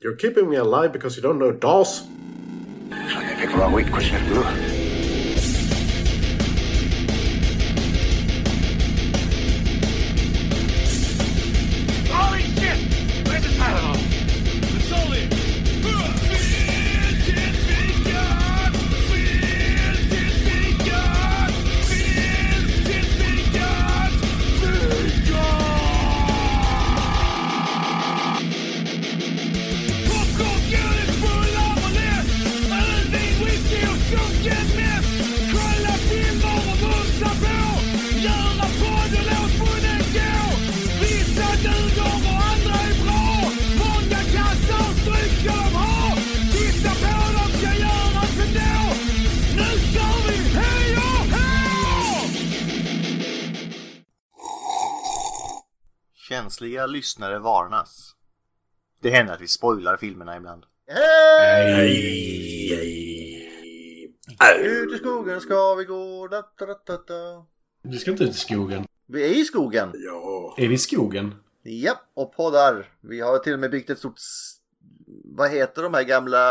You're keeping me alive because you don't know DOS. Looks like I picked the wrong week, Commissioner Blue. Holy shit! Where's the Tylenol? It's all there. Känsliga lyssnare varnas. Det händer att vi spoilar filmerna ibland. Ut i skogen ska vi gå. Da, da, da, da, da. Vi ska inte ut i skogen. Vi är i skogen. Ja. Är vi i skogen? Japp, och poddar. Vi har till och med byggt ett stort... s- Vad heter de här gamla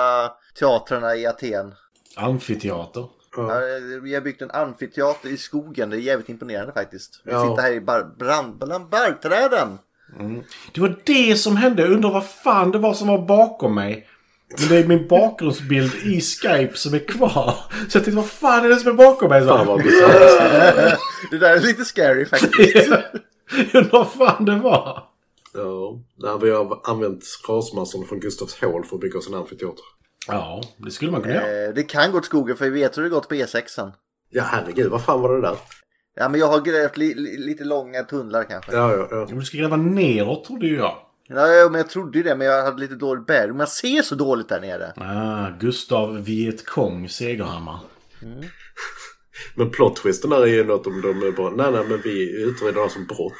teatrarna i Aten? Amfiteater. Ja. Här, Vi har byggt en amfiteater i skogen. Det är jävligt imponerande faktiskt. Vi Ja. sitter här i bar- brand... bland barrträden. Det var det som hände. Jag undrar vad fan det var som var bakom mig. Men det är min bakgrundsbild i Skype som är kvar. Så jag tänkte, vad fan är det som är bakom mig? Fan vad bisarrt. Det där är lite scary faktiskt. Jag undrar vad fan det var. Ja. Nej, vi har använt rasmassorna från Gustavs hål för att bygga oss en amfiteater. Ja, det skulle man kunna göra. Eh, Det kan gå åt skogen för vi vet hur det gått på E6. Ja, herregud. Vad fan var det där? Ja, men jag har grävt li- li- lite långa tunnlar kanske. Ja, ja, ja. Jo, Du ska gräva neråt trodde ju jag. Ja, men jag trodde ju det, men jag hade lite dålig bäring. Man ser så dåligt där nere. Ah, Gustav Vietkong Segerhammar. Men plot-twisten där är ju något om de är bara, nej nej men vi utreder det här som brott.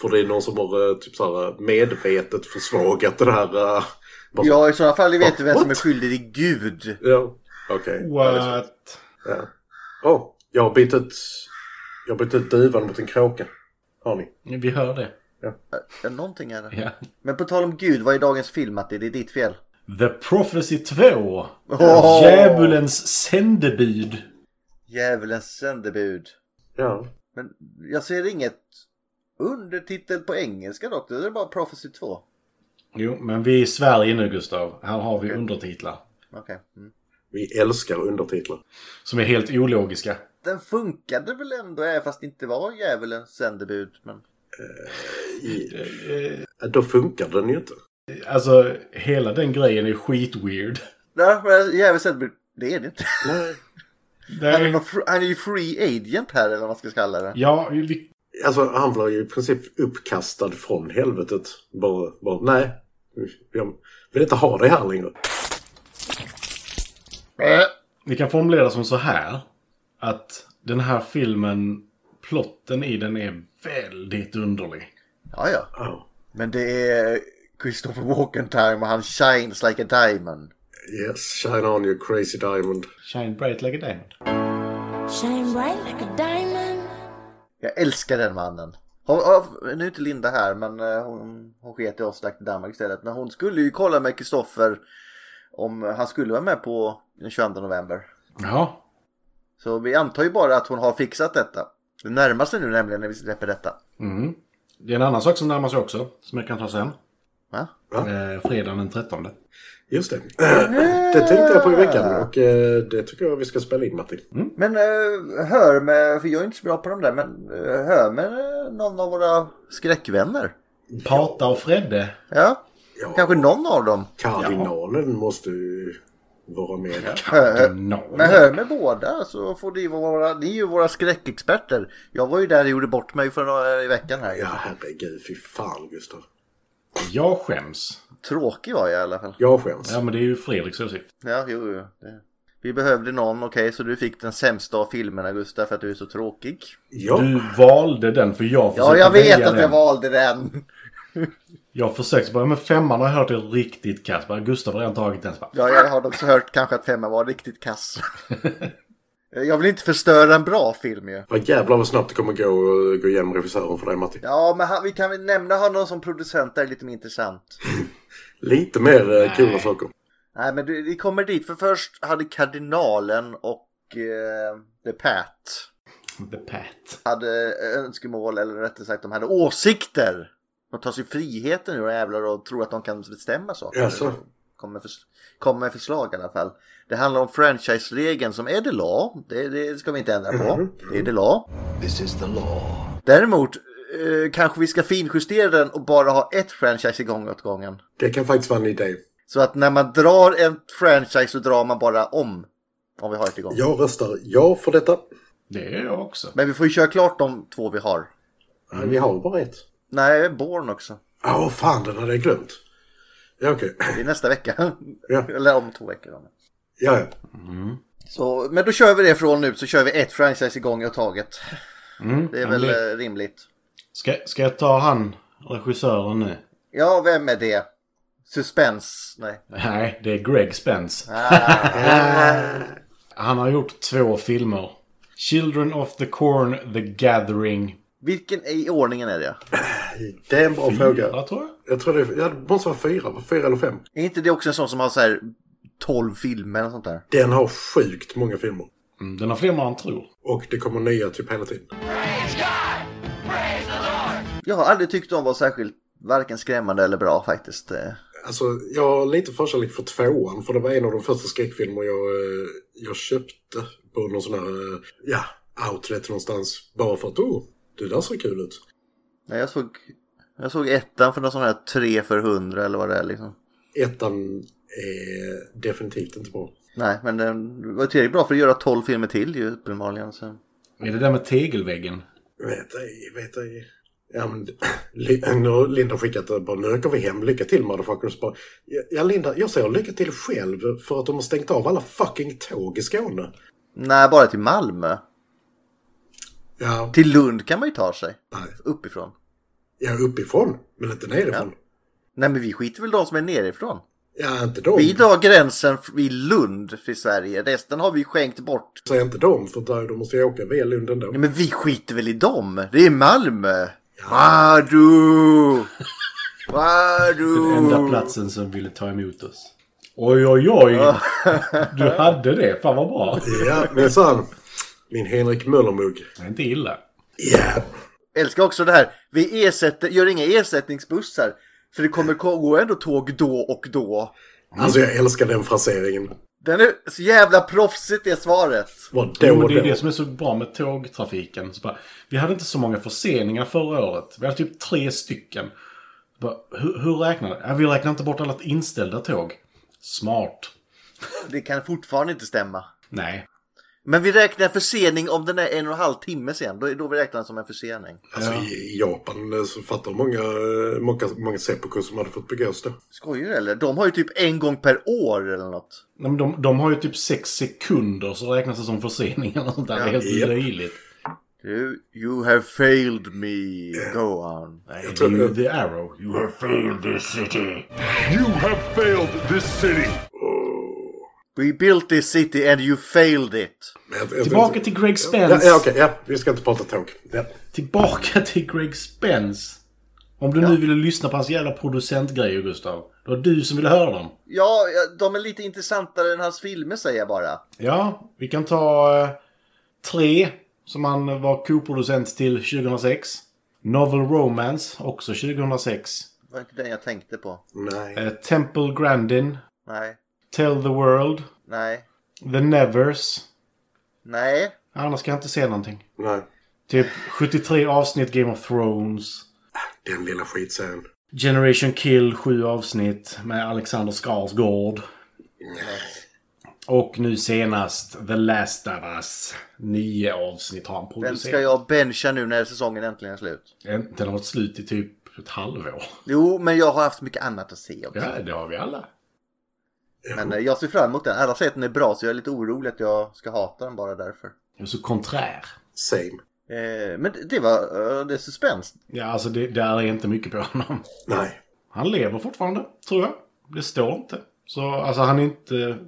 För det är någon som har eh, typ så här, medvetet försvagat det här. eh, bara så- Ja, i sådana fall vet du vem som är What? skyldig. Det är Gud. Ja, okej. What? Ja. Oh, jag har bytt ut, jag har bytt ut duvan mot en kråka. Har ni? Vi hör det. Ja, Någonting är det. Ja. Men på tal om Gud, vad är dagens film Matti? Det är ditt fel. The Prophecy 2. Åh! Djävulens sändebud. Djävulens sändebud. Ja. Men jag ser inget undertitel på engelska dock. Det är bara Prophecy 2. Jo, men vi är i Sverige nu Gustav. Här har vi undertitlar. Okej. Mm. Vi älskar undertitlar. Som är helt ologiska. Den funkade väl ändå, även fast det inte var Djävulens sändebud. Men... I, Eh, då funkar den ju inte. Alltså, hela den grejen är skitweird. Ja, men Djävulens sändebud. Det är det inte. Nej. Han är, Nej. någon fr- han är ju free agent här eller vad man ska kalla det. Ja, vi... Alltså han blev ju i princip uppkastad från helvetet. Bara, bara nej. Jag vill inte ha det här längre. vi kan formulera det som så här. Att den här filmen, plotten i den är väldigt underlig. Ja, ja. Ja. Men det är Christopher Walken time och han shines like a diamond. Yes, shine on your crazy diamond. Shine bright like a diamond. Shine bright like a diamond. Jag älskar den mannen. Hon, hon, nu är inte Linda här men eh, hon, hon sket i oss och till Danmark istället. Men hon skulle ju kolla med Christopher om han skulle vara med på den 22 november. Ja. Så vi antar ju bara att hon har fixat detta. Det närmar sig nu nämligen när vi släpper detta. Mm. Det är en annan sak som närmar sig också. Som jag kan ta sen. Va? Eh, fredagen den 13. Just det. Det tänkte jag på i veckan och eh, det tycker jag vi ska spela in Martin. Mm. Men eh, hör med, för jag är inte så bra på de där, men eh, hör med eh, någon av våra skräckvänner. Parta och Fredde. Ja, Ja, kanske någon av dem. Kardinalen måste ju vara med. Hör, hör, Kardinal. men hör med båda så får ni vara, ni är ju våra skräckexperter. Jag var ju där och gjorde bort mig för några, i veckan här. Ja, herregud. Fy fan Gustav. Jag skäms. Tråkig var jag i alla fall. Jag skäms. Ja, men det är ju Fredriks åsikt. Ja, jo, jo. Det. Vi behövde någon, okej, så du fick den sämsta av filmerna Gustav för att du är så tråkig. Ja, Du valde den för jag Ja, försökte jag vet välja att jag den. valde den. Jag försökte bara, men femman har jag hört är riktigt kass. Bara, Gustav har redan tagit den. Så Bara, Ja, jag har också hört kanske att femman var riktigt kass. jag vill inte förstöra en bra film ju. vad jävlar vad snabbt det kommer gå att gå igenom regissören för dig Martin. Ja, men han, vi kan väl nämna honom som producent, det är lite mer intressant. Lite mer eh, coola saker. Nej, men du- vi kommer dit. För först hade kardinalen och eh, The Pat "Mm, The Pat. hade önskemål, eller rättare sagt de hade åsikter. De tar sig friheten ur jävlar och tror att de kan bestämma saker. Jaså? Kommer med, förs- kommer med förslag i alla fall. Det handlar om franchise-regeln som är det lag. Det, det ska vi inte ändra på. Det är det lag. This is the law. Däremot eh, kanske vi ska finjustera den och bara ha ett franchise igång åt gången. Det kan faktiskt vara en idé. Så att när man drar en franchise så drar man bara om. Om vi har ett igång. Jag röstar ja för detta. Det är jag också. Men vi får ju köra klart de två vi har. Nej, vi har bara ett. Nej, Born också. Ja, vad fan, den hade jag glömt. Ja, okej. Det är nästa vecka. Ja. Eller om två veckor. Då. Ja, ja. Så, men då kör vi det från nu så kör vi ett franchise igång åt taget. Det är Mm, men väl det- eh, rimligt. Ska, ska jag ta han, regissören nu? Ja, vem är det? Suspense? Nej. Nej, det är Greg Spence. Ah, Han har gjort två filmer. Children of the Corn, The Gathering. vilken i ordningen är det? Det är en bra Ja, fråga. tror jag. Jag tror det, ja, det måste vara fyra, fyra eller fem. Är inte det också en sån som har så här 12 filmer eller sånt där? Den har sjukt många filmer. Mm, Den har fler än man tror. Och det kommer nya typ hela tiden. Praise God! Praise the Lord! Jag har aldrig tyckt de var särskilt varken skrämmande eller bra faktiskt. Eh, Alltså, jag har lite förkärlek för tvåan, för det var en av de första skräckfilmer jag, eh, jag köpte på någon sån här, eh, ja, outlet någonstans. Bara för att, oh, det där ser kul ut. Nej, jag såg, jag såg ettan för någon sån här 3 för 100 eller vad det är liksom. Ettan är definitivt inte bra. Nej, men den var tillräckligt bra för att göra 12 filmer till ju uppenbarligen. Så. Är det där med tegelväggen? Vet ej, vet ej. Ja, men, Li- nu har Linda skickat det bara, nu åker vi hem, lycka till motherfuckers. Bara, ja, ja, Linda, jag säger lycka till själv för att de har stängt av alla fucking tåg i Skåne. Nej, bara till Malmö. Ja, Till Lund kan man ju ta sig. nej. Uppifrån. Ja, uppifrån, men inte nerifrån. Nej, men vi skiter väl de som är nerifrån. Ja, inte dem. Vi drar gränsen vid Lund till Sverige. Resten har vi skänkt bort. Säg inte dem, för där, då måste jag åka via Lund ändå. Nej, men vi skiter väl i dem. Det är Malmö. Madu! Enda Madu! platsen som ville ta emot oss. Oj, oj, oj! Du hade det. Fan vad bra. Ja, minsann. Min Henrik Möllermugg. Det är inte illa. Ja, Älskar också det här. Vi ersätter, gör inga ersättningsbussar. För det kommer gå ändå tåg då och då. alltså jag älskar den fraseringen. Den är så jävla proffsigt det svaret. Vad då Jo, och det är det då. som är så bra med tågtrafiken. Så bara, vi hade inte så många förseningar förra året. Vi hade typ tre stycken. Så Bara, hur, hur räknar det? Ja, vi räknar inte bort alla inställda tåg. Smart. Det kan fortfarande inte stämma. Nej. Men vi räknar försening om den är en och en halv timme sen. Då, då vi räknar den som en försening. Alltså i Japan eh, så fattar många, eh, många, många seppuku som hade fått begås då. Skojar du eller? De har ju typ en gång per år eller något. Nej, men de, de har ju typ sex sekunder så räknas det som försening eller sånt där. Det är helt Japp. löjligt. Du, you have failed me. Go on. Nej, det tror är ju det. The Arrow. You have failed this city. You have failed this city. We built this city and you failed it. Men jag- jag- Tillbaka till Greg Ja, Spence. ja okej. ja, vi ska inte prata tåg. Ja. Tillbaka till Greg Spence. Om du nu ville lyssna på hans jävla producentgrejer, Gustav. Det var du som ville höra dem. Ja, ja, de är lite intressantare än hans filmer säger jag bara. Ja, vi kan ta eh, tre som han var koproducent till 2006. Novel Romance, också 2006. Det var inte den jag tänkte på. Nej. Eh, Temple Grandin, Nej, Tell the World, nej, The Nevers. nej. Annars kan jag inte se någonting. Nej. Typ 73 avsnitt Game of Thrones. Den lilla skitserien. Generation Kill, sju avsnitt med Alexander Skarsgård. Och nu senast The Last of Us. Nio avsnitt har han Den producerat. ska jag bencha nu när säsongen äntligen är slut. Den- Den har varit slut i typ ett halvår. Jo, men jag har haft mycket annat att se också. Ja, det har vi alla. Men eh, jag ser fram emot den. Alla säger att den är bra så jag är lite orolig att jag ska hata den bara därför. Jag är så konträr. Same. Eh, men det- det var eh, det är suspens. Ja, alltså det, där är inte mycket på honom. Nej. Han lever fortfarande, tror jag. Det står inte. Så alltså han är inte...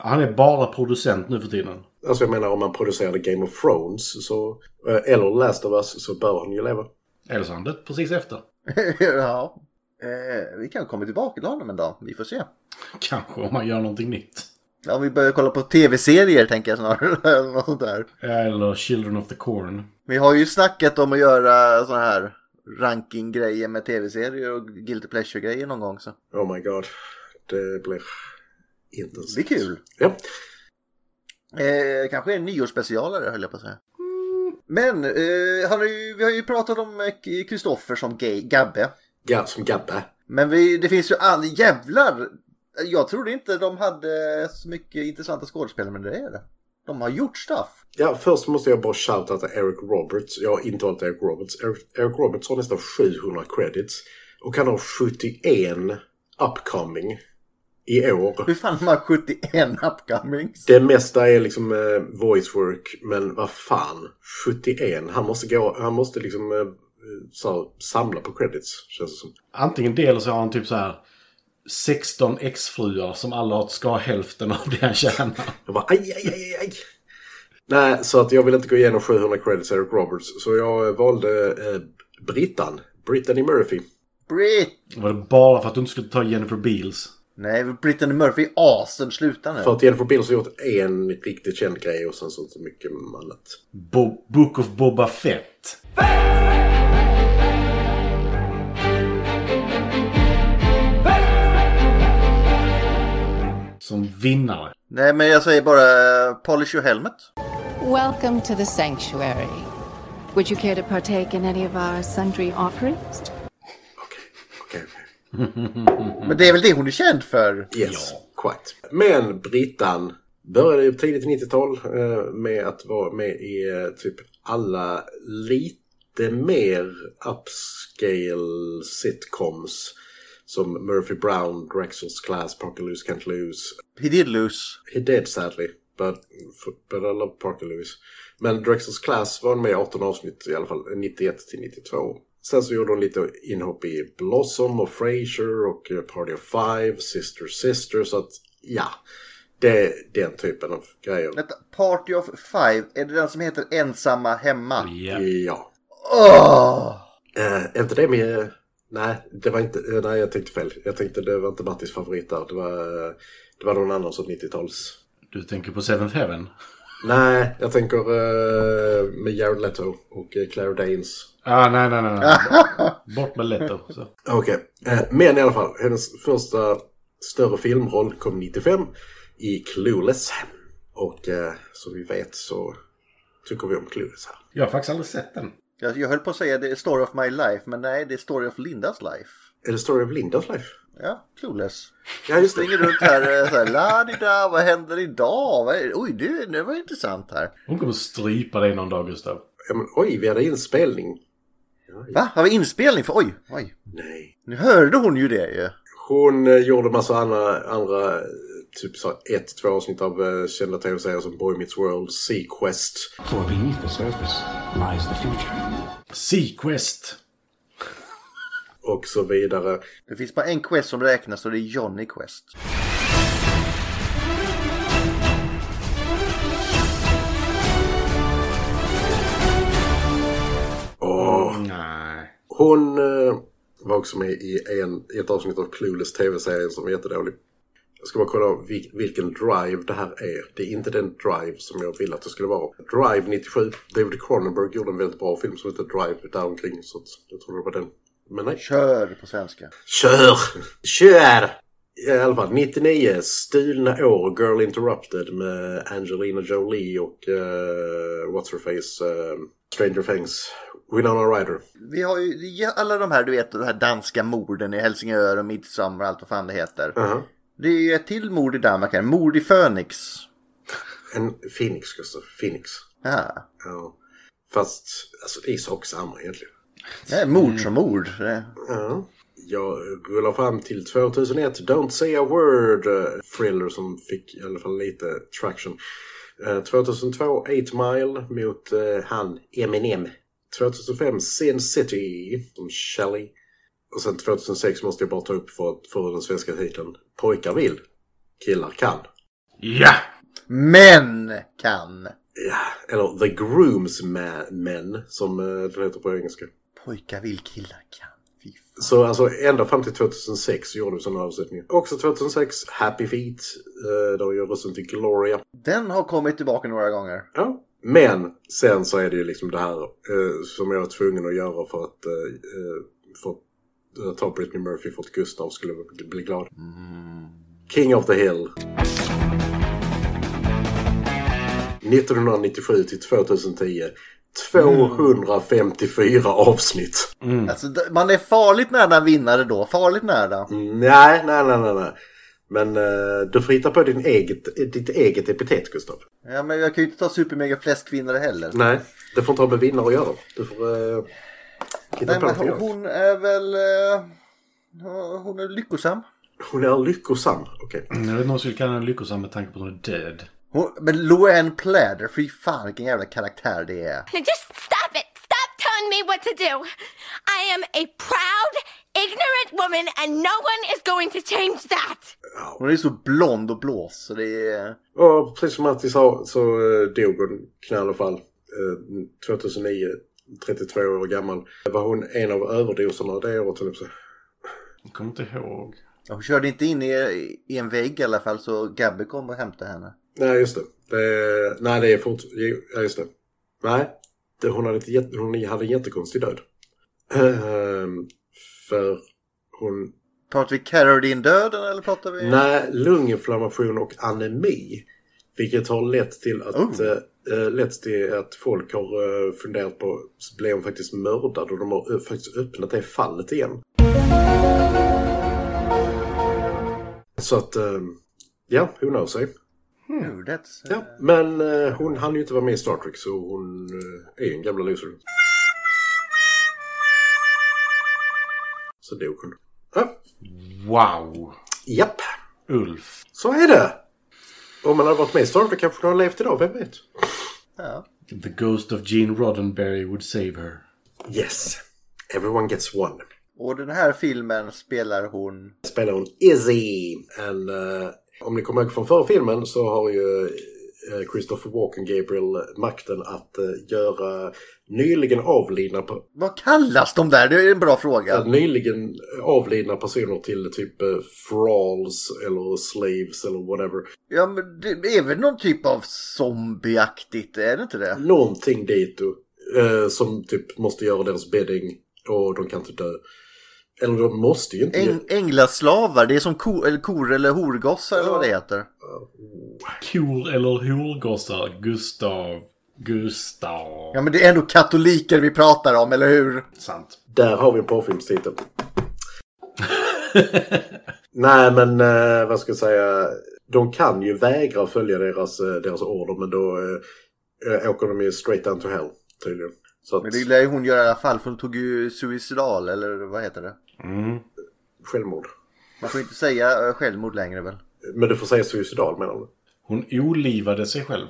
Han är bara producent nu för tiden. Alltså jag menar om man producerade Game of Thrones så, eh, eller Last of Us så bör han ju leva. Eller så är han dött precis efter. ja, Eh, vi kan komma tillbaka till honom en dag. Vi får se. Kanske om man gör någonting nytt. Ja, om vi börjar kolla på tv-serier tänker jag snarare. Eller något sånt där. Eller Children of the Corn. Vi har ju snackat om att göra såna här ranking-grejer med tv-serier och guilty pleasure-grejer någon gång. Så. Oh my god. Det blir intensivt. Det blir kul. Ja. Eh, kanske en nyårsspecialare höll jag på att säga. Men eh, han har ju, vi har ju pratat om eh, Kristoffer som gay, Gabbe. ja, som Gabbe. Men vi, det finns ju all jävlar. Jag trodde inte de hade så mycket intressanta skådespelare, men det är det. De har gjort stuff. Ja, först måste jag bara shouta till Eric Roberts. Jag har inte valt Eric Roberts. Eric, Eric Roberts har nästan 700 credits. Och han har 71 upcoming i år. Hur fan har man 71 upcomings? Det mesta är liksom eh, voice work, men vad fan. 71. Han måste, gå, han måste liksom eh, så, här, samla på credits, känns det som. Antingen det eller så har han typ så här 16 exfruar som alla ska ha hälften av det han tjänar. Jag bara aj, aj, aj, aj. Nej, så att jag vill inte gå igenom 700 credits Eric Roberts. Så jag eh, valde eh, Brittan. Brittany Murphy. Brit! Var det bara för att du inte skulle ta Jennifer Beals? Nej, Brittany Murphy är asen. Sluta nu. För att Jennifer Beals har gjort en riktigt känd grej och sen så inte så mycket annat. Bo- Book of Boba Fett. Som vinnare. Nej, men jag säger bara eh, polish your helmet. Welcome to the sanctuary. Would you care to partake in any of our sundry offerings? Okej, okej, okej. Men det är väl det hon är känd för? Yes, quite. Men Brittan började ju tidigt 90-tal eh, med att vara med i eh, typ alla lite mer upscale sitcoms. Som Murphy Brown, Drexel's Class, Parker Lewis Can't Lose, He did lose. He did sadly, but, but I love Parker Lewis. Men Drexels Class var med i 18 avsnitt i alla fall, 91 till 92. Sen så gjorde hon lite inhopp i Blossom och Frasier och eh, Party of Five, Sister Sister, så att ja. Det är den typen av grejer. Vänta, Party of Five, är det den som heter Ensamma Hemma? Ja. Ja. Åh! Eh, är inte det med... eh, nej, det var inte... eh, nej, jag tänkte fel. Jag tänkte det var inte Mattis favorit där. Det var, eh, det var någon annan som 90-tals. Du tänker på Seventh Heaven? Nej, jag tänker eh, med Jared Leto och eh, Claire Danes. Ah, nej, nej, nej. nej. Bort med Leto. Så. Okej, eh, men i alla fall. Hennes första större filmroll kom 95 i Clueless. Och eh, som vi vet så tycker vi om Clueless här. Jag har faktiskt aldrig sett den. Jag, jag höll på att säga det är Story of My Life, men nej, det är Story of Lindas Life. Är det Story of Lindas Life? Ja, clueless. Ja, just det. Springer runt här eh, så här, la-di-da, vad händer idag? Vad är, oj, det, det var intressant här. Hon kommer strypa dig någon dag, Gustav. Ja, men, oj, vi hade inspelning. Va? Har vi inspelning? För, oj, oj. Nej. Nu hörde hon ju det ju. Hon eh, gjorde massa andra, andra eh, typ så här ett, två avsnitt av eh, kända tv-serier som Boy Meets World, Sequest. For beneath the surface lies the future. Sequest. och så vidare. Det finns bara en quest som räknas och det är Johnny Quest. Oh. Nej. Hon eh, var också med i, en, i ett avsnitt av Clueless tv-serien som är jättedålig. Jag ska bara kolla vil, vilken drive det här är. Det är inte den drive som jag ville att det skulle vara. Drive 97. David Cronenberg gjorde en väldigt bra film som heter Drive där omkring. Så att jag tror det var den. Men nej. Kör på svenska. Kör! Kör! I alla fall 99. Stulna år. Girl Interrupted med Angelina Jolie och eh, What's Her Face. eh, Stranger Things. Winona Ryder. Vi har ju ja, alla de här, du vet, de här danska morden i Helsingör och Midsommar och allt vad fan det heter. uh Det är ju ett till mord i Danmark här, mord i Phoenix. En Phoenix, Gustav. Phoenix. Ja. Ja. Fast, alltså det är sak samma egentligen. Det är mord som mord. Det- Ja. Jag rullar fram till 2001, Don't say a word, eh, thriller som fick i alla fall lite traction. Eh, 2002, 8 Mile mot eh, han Eminem. 2005, Sin City, som Shelly. Och sen 2006 måste jag bara ta upp för, för den svenska titeln. Pojkar vill, killar kan. Ja! Män kan. Ja, eller The Grooms Men, som eh, den heter på engelska. Pojkar vill, killar kan. Fy Fy fan. Så alltså ända fram till 2006 gjorde vi sådana översättningar. Också 2006, Happy Feet, eh, där vi gör rösten till Gloria. Den har kommit tillbaka några gånger. Ja. Men sen så är det ju liksom det här eh, som jag var tvungen att göra för att, eh, eh, för att eh, ta Britney Murphy för att Gustav skulle bli- bli glad. King of the Hill. 1997 till 2010. 254 avsnitt. Alltså, d- man är farligt nära en vinnare då. Farligt nära. Mm. Nej, nej, nej, nej. nej. Men eh, du får hitta på din eget, ditt eget epitet, Gustav. Ja, men jag kan ju inte ta supermega flest kvinnor heller. Nej, det får inte ha med vinnare att göra. Du får eh, hitta Nej, på men någonting. annat. hon, hon är väl... eh, hon är lyckosam. Hon är lyckosam. Okej. Jag vet inte om jag skulle kalla henne lyckosam med tanke på att hon är död. Hon, men Loanne Pläder, fy fan vilken jävla karaktär det är. Now just stop it. Stop telling me what to do. I am a proud, ignorant woman, and no one is going to change that. Hon är så blond och blås så det är... Och precis som Matti sa så eh, dog hon i alla fall eh, 2009. 32 år gammal. Var hon en av överdoserna det året, höll jag på att säga. Jag kommer inte ihåg. Hon körde inte in i, i en vägg i alla fall så Gabby kom och hämtade henne. Nej, just det. det nej, det är fort... jo, Ja, just det. Nej, det, hon, hade ett, jätte- hon hade en jättekonstig död. Ehm, för hon... Pratar vi Caroline-döden eller pratar vi... Nej, lunginflammation och anemi. Vilket har lett till att, Oh. eh, eh, lett till att folk har eh, funderat på, blev hon faktiskt mördad? Och de har eh, faktiskt öppnat det fallet igen. Så att, eh, ja, who knows, eh? Nu, Mm, that's- Ja, men eh, hon hann ju inte vara med i Star Trek så hon eh, är ju en gamla loser. Så dog hon. Ja, Wow! japp, Ulf. så är det! Om man hade varit med i Star Trek kanske hon hade levt idag, vem vet? ja. The ghost of Gene Roddenberry would save her. Yes, everyone gets one. Och den här filmen spelar hon... Spelar hon Izzy. En, eh, om ni kommer ihåg från förra filmen så har ju eh, Christopher Walken Gabriel makten att eh, göra nyligen avlidna per- Vad kallas de där? Det är en bra fråga. att nyligen avlidna personer till typ eh, thralls eller slaves eller whatever. Ja, men det är väl någon typ av zombieaktigt, är det inte det? Någonting dit eh, som typ måste göra deras bedding och de kan inte dö. Eller de måste ju inte. Äng, änglaslavar, det är som ko, eller kor eller horgossar eller vad det heter. Kor eller horgossar? Gustav. Gustav. Ja men det är ändå katoliker vi pratar om, eller hur? Sant. Där har vi en porrfilmstitel. Nej men eh, vad ska jag säga. De kan ju vägra följa deras, eh, deras order men då eh, eh, åker de ju straight down to hell tydligen. Så att, Men det lär ju hon göra i alla fall för hon tog ju suicidal eller vad heter det? självmord. Man får inte säga eh, självmord längre väl? Men du får säga suicidal menar du? Hon olivade sig själv.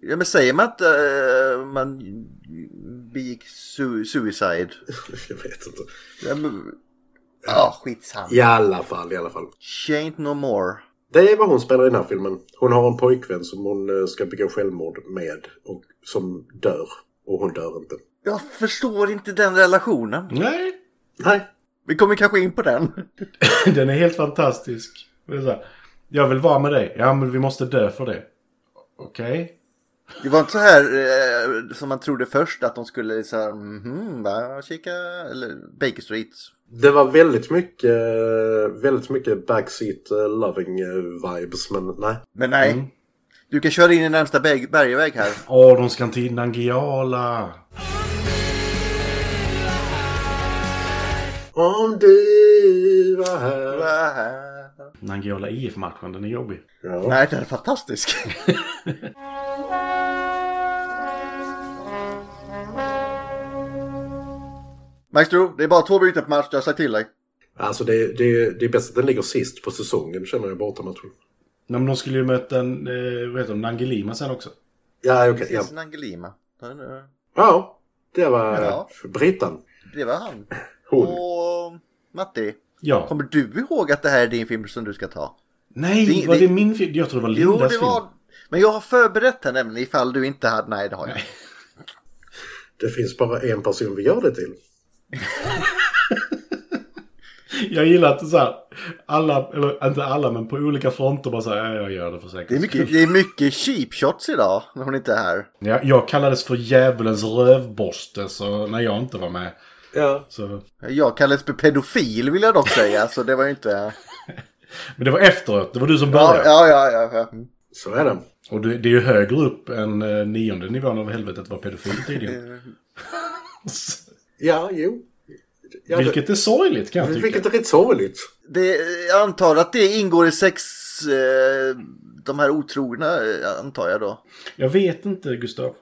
Ja men säger man att eh, man begick su- suicide? Jag vet inte. Ja men... ah, skitsamma. I alla fall, i alla fall. She ain't no more. Det är vad hon spelar i den här filmen. Hon har en pojkvän som hon eh, ska begå självmord med. Och som dör. Och hon dör inte. Jag förstår inte den relationen. Nej. Nej. Vi kommer kanske in på den. Den är helt fantastisk. Det är så här, Jag vill vara med dig. Ja, men vi måste dö för det. Okej. Det var inte så här eh, som man trodde först att de skulle så här, mhm, va, kika, eller Baker Street. Det var väldigt mycket, eh, väldigt mycket backseat eh, loving eh, vibes. Men nej. Men nej. Du kan köra in i närmsta berg- bergväg här. Åh, de ska till Nangiala. Om du var här. Nangiala IF-matchen, den är jobbig. Ja. Nej, den är fantastisk. Maestro, det är bara två byten på match, jag har sagt till dig. Alltså det, det, det är bäst att den ligger sist på säsongen känner jag bortamatchen. Nej, men de skulle ju möta en, eh, vad heter de, Nangilima sen också. Ja, okej. ja. Precis, Nangelima. ja, det var Ja. Brittan. Det var han. Hon. Och Matti, Ja. kommer du ihåg att det här är din film som du ska ta? Nej, Det- var det- det, min film? Jag tror det var Jo, Lindas det var... Men jag har förberett här nämligen ifall du inte hade... Nej, det har jag inte. Det finns bara en person vi gör det till. Jag gillar att så här, alla, eller inte alla, men på olika fronter bara så här, "Ja, jag gör det Det för är säkerhets mycket, det är mycket cheap shots idag när hon inte är här. Jag, jag kallades för djävulens rövborste så när jag inte var med. Ja. Så. Jag kallades för pedofil vill jag dock säga, så det var ju inte... Men det var efteråt, det var du som Ja, började. ja, ja. ja, ja. Mm. Så är det. Och det, det är ju högre upp än eh, nionde nivån av helvetet var pedofil tidigare. Ja, jo. Ja, Vilket är sorgligt kan det, jag vilket tycka. är rätt sorgligt. Det, jag antar att det ingår i sex... Eh, de här otrogna, eh, antar jag då. Jag vet inte, Gustav.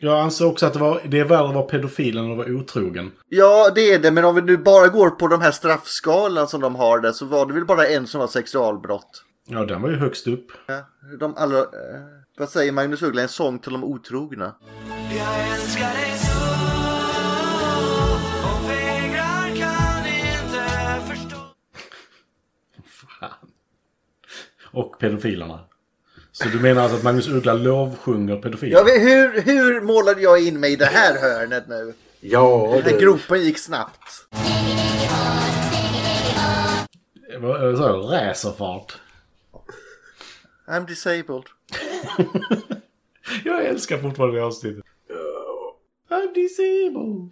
Jag anser också att det, var, det är värre att vara pedofil än att vara otrogen. Ja, det är det, men om vi nu bara går på de här straffskalan som de har där så var det väl bara en som var sexualbrott. Ja, den var ju högst upp. Ja, de alla... Eh, vad säger Magnus Uggla? En sång till de otrogna. Fan. Och pedofilerna. Så du menar alltså att Magnus Uggla lovsjunger pedofiler? Jag vet, hur, hur målade jag in mig i det här hörnet nu? Ja, Den du. gropen gick snabbt. Det var, eh, så här, Racerfart. I'm disabled. Jag älskar fortfarande det avsnittet. Oh, I'm disabled.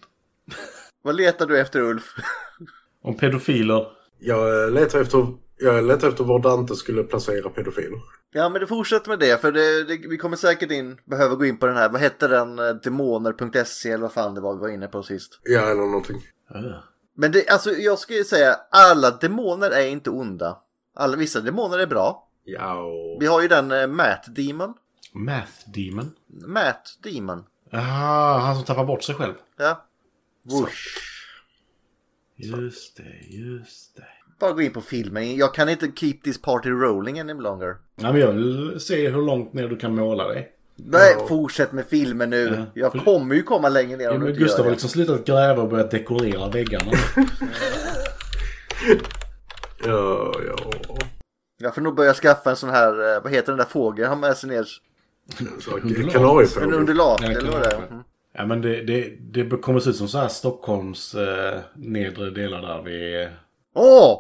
Vad letar du efter Ulf? Om pedofiler. Jag eh, letar efter, jag letar efter var Dante skulle placera pedofiler. Ja men du fortsätter med det för det, det, vi kommer säkert in, behöva gå in på den här, vad hette den, eh, demoner.se eller vad fan det var vi var inne på sist. Ja, eller någonting. Öh. Men det, alltså jag skulle säga, alla demoner är inte onda. Alla, vissa demoner är bra. Ja, och... Vi har ju den eh, Matt Demon. Math Demon. Matt Demon. Ah, han som tappar bort sig själv. Ja. Whoosh. Just det, just det. Bara gå in på filmen, jag kan inte keep this party rolling any longer. Ja, men jag vill se hur långt ner du kan måla dig. Nej, fortsätt med filmen nu. Ja. Jag kommer ju komma längre ner Ja, om du men inte Gustav har gör liksom slutat gräva och börjat dekorera väggarna. Ja, ja. det. Jag får nog börja skaffa en sån här, eh, vad heter den där fågeln han har med sig ner? Så, eh, Undulat. En Kanariefågel. undulat Ja, det kan eller vad det vara. är. Mm. ja, men det, det, det kommer se ut som så här Stockholms eh, nedre delar där vi... Åh!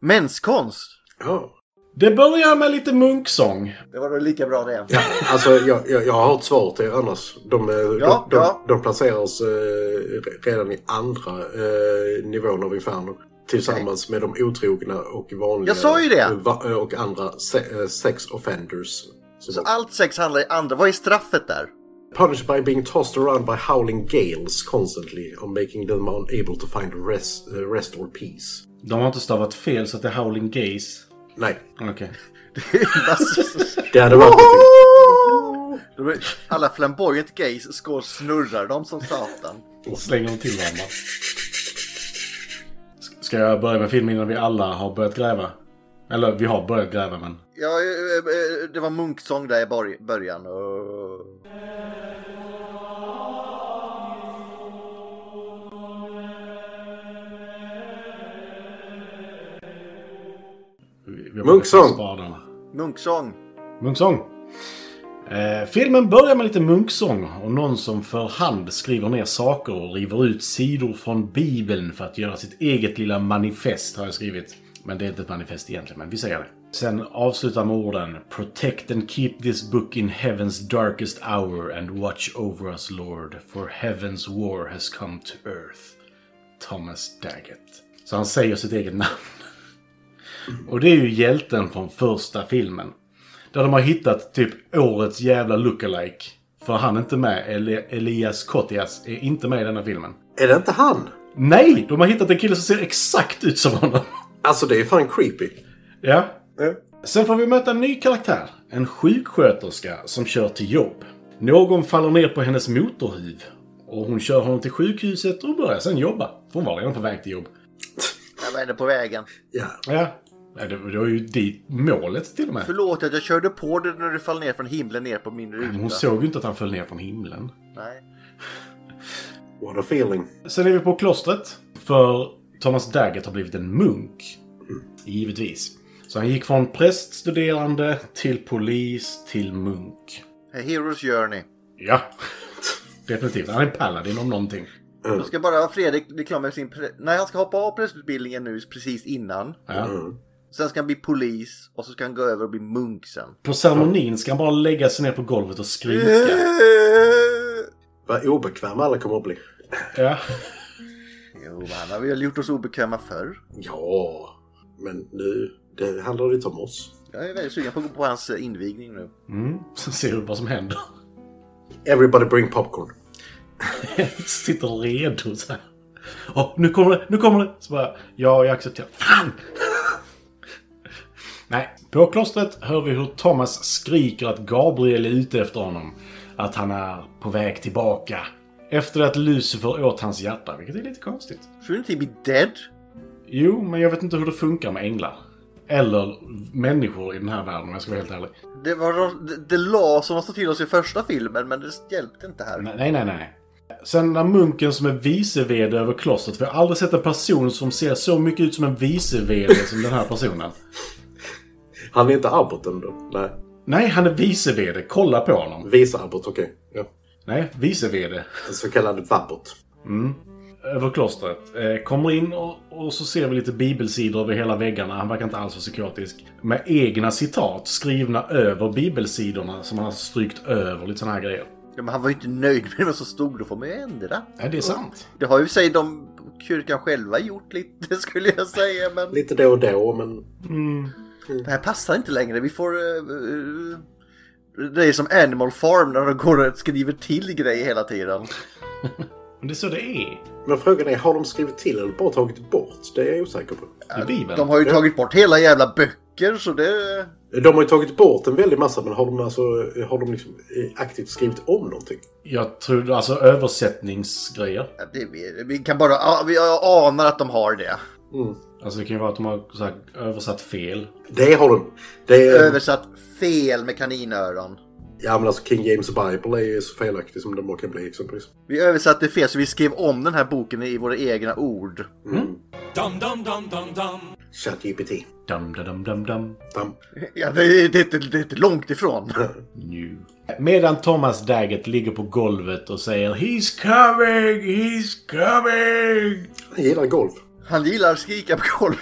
Menskonst! Ja. Det börjar med lite munksång. Det var då lika bra det. Ja, alltså jag, jag, jag har ett svar till er annars. De, eh, Ja, de, de, ja. de placeras eh, redan i andra eh, nivån av Inferno. Tillsammans med de otrogna och vanliga. Jag sa ju det! va- Och andra se, eh, sex offenders. Så Så allt sex handlar i andra. Vad är straffet där? Punished by being tossed around by howling gales constantly and making them unable to find rest, eh, rest or peace. De har inte stavat fel så att det är Howling Gaze. Nej, Okej. det hade varit någonting. Då är- Alla flamboyant gays skål snurrar de som satan. Och slänger dem till varandra. S- Ska jag börja med filmen innan vi alla har börjat gräva? Eller vi har börjat gräva men... Ja, eh, eh, det var munksång där i bor- början. och- vi- vi har Munksång. börjat med spadarna. Munksång. Munksång. Eh, filmen börjar med lite munksång och någon som för hand skriver ner saker och river ut sidor från Bibeln för att göra sitt eget lilla manifest har jag skrivit. Men det är inte ett manifest egentligen, men vi säger det. Sen avslutar med orden Protect and keep this book in heaven's darkest hour and watch over us Lord, for heaven's war has come to earth. Thomas Daggett. Så han säger sitt eget namn. Och det är ju hjälten från första filmen. Där de har hittat typ årets jävla lookalike. För han är inte med. Eli- Elias Kotias är inte med i denna filmen. Är det inte han? Nej! De har hittat en kille som ser exakt ut som honom. Alltså det är fan creepy. Ja. Ja. Sen får vi möta en ny karaktär. En sjuksköterska som kör till jobb. Någon faller ner på hennes motorhuv. Och hon kör honom till sjukhuset och börjar sen jobba. För hon var redan på väg till jobb. Jag var inne på vägen. Ja, Ja. Ja, Det det var ju dit målet till och med. Förlåt att jag körde på dig när du fall ner från himlen ner på min ruta. Men Hon såg ju inte att han föll ner från himlen. Nej. what a feeling. Sen är vi på klostret. För Thomas Daggett har blivit en munk. Givetvis. Så han gick från präststuderande till polis till munk. A Hero's Eh, Journey. Ja. Definitivt. Han är en paladin om någonting. Då ska bara Fredrik bli klar med sin... pre- Nej, han ska hoppa av prästutbildningen nu precis innan. Ja. Sen ska han bli polis och så ska han gå över och bli munk sen. På ceremonin ska han bara lägga sig ner på golvet och Mm. skrika. Yeah. Vad obekväma alla kommer att bli. Ja. Jo, man har väl gjort oss obekväma förr. Ja, men nu det handlar det inte om oss. Jag är väldigt sugen på att gå på hans eh, invigning nu. Mm. Sen ser vi vad som händer. Everybody bring popcorn. Sitter redo så här. Åh, nu kommer det, nu kommer det! Så bara, ja, jag accepterar. Fan! Nej, på klostret hör vi hur Thomas skriker att Gabriel är ute efter honom. Att han är på väg tillbaka. Efter att Lucifer åt hans hjärta, vilket är lite konstigt. Shouldn't he be dead? Jo, men jag vet inte hur det funkar med änglar. Eller människor i den här världen om jag ska vara helt ärlig. Det var det- det la som man sa till oss i första filmen, men det hjälpte inte här. Nej, nej, nej. Sen när munken som är vice vd över klostret, för jag har aldrig sett en person som ser så mycket ut som en vice vd som den här personen. Han är inte Abbot ändå. Nej, Nej, han är vice vd. Kolla på honom. visa Abbot, okej. Ja. Nej, vice vd. En så kallad vabbot. Över klostret. Eh, kommer in och, och så ser vi lite bibelsidor över hela väggarna. Han verkar inte alls vara psykotisk. Med egna citat skrivna över bibelsidorna som han har strykt över. Lite såna här grejer. Ja, men han var ju inte nöjd med vad som stod, då får man ju ändra. Nej, det är sant. Det har ju i sig de kyrkan själva gjort lite, skulle jag säga, men Lite då och då, men det här passar inte längre. Vi får... eh, eh, det är som Animal Farm när de går och skriver till grejer hela tiden. Men det är så det är. Men frågan är, har de skrivit till eller bara tagit bort? Det är jag osäker på. I Bibeln. De har ju tagit bort hela jävla böcker, så det... De har ju tagit bort en väldig massa, men har de, alltså, har de liksom eh, aktivt skrivit om någonting? Jag tror alltså översättningsgrejer. Ja, det vi, vi kan bara... ja, Vi anar att de har det. Alltså det kan ju vara att de har så här, översatt fel. Det har de. Det är, Översatt fel med kaninöron. ja, men alltså King James Bible är ju så felaktig som den bara kan bli exempelvis. Vi översatte fel, så vi skrev om den här boken i våra egna ord. Dum dum dum dum dum. ChatGPT. Dum dum dum dum dum. Damn. Ja, det, är- det, är inte- det är inte långt ifrån. New. Medan Thomas Daggett ligger på golvet och säger He's coming! He's coming! Jag gillar golf. Han gillar att skrika på golv.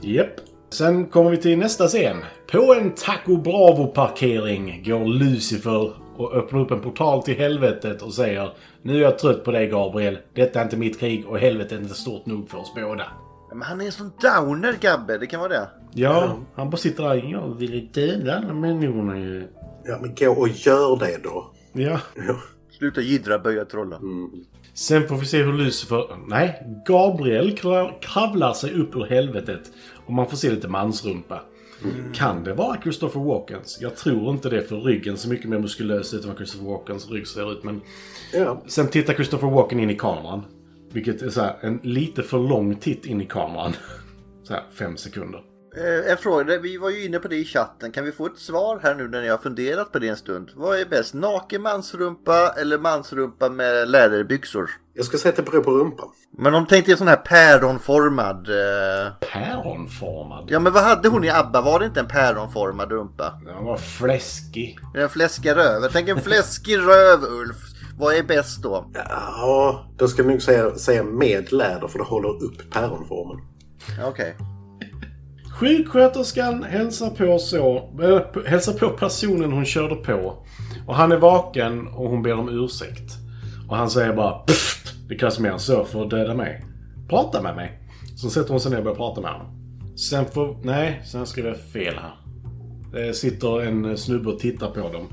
Japp. Sen kommer vi till nästa scen. På en Taco Bravo-parkering går Lucifer och öppnar upp en portal till helvetet och säger Nu är jag trött på dig Gabriel. Detta är inte mitt krig och helvetet är inte stort nog för oss båda. Men han är en sån downer, Gabbe. Det kan vara det. Ja, han bara sitter där. Jag vill döda alla människorna ju. Ja, men gå och gör det då. Ja. Sluta jiddra, böja, trolla. Sen får vi se hur Lucifer... Nej, Gabriel kra- kravlar sig upp ur helvetet. Och man får se lite mansrumpa. Kan det vara Christopher Walkens? Jag tror inte det för ryggen så mycket mer muskulös ut än vad Christopher Walkens rygg ser ut. Men Ja. sen tittar Christopher Walken in i kameran. Vilket är så här, en lite för lång titt in i kameran. Så här, fem sekunder. Eh, En fråga, vi var ju inne på det i chatten. Kan vi få ett svar här nu när ni har funderat på det en stund? Vad är bäst? Naken mansrumpa eller mansrumpa med läderbyxor? Jag ska säga att det beror på rumpan. Men om tänkte en sån här päronformad... Eh... Päronformad. Ja men vad hade hon i ABBA? Var det inte en päronformad rumpa? Den var fläskig. En fläskig röv. Tänk en fläskig röv Ulf. Vad är bäst då? Ja, då ska vi nog säga, säga med läder för det håller upp päronformen. Okej. Sjuksköterskan hälsar på, så, eller, p- hälsar på personen hon körde på. Och han är vaken och hon ber om ursäkt. Och han säger bara "Pfft, Det krävs mer än så för att döda mig. Prata med mig. Så sätter hon sig ner och börjar prata med honom. Sen får... Nej, sen skrev jag fel här. Det sitter en snubbe och tittar på dem.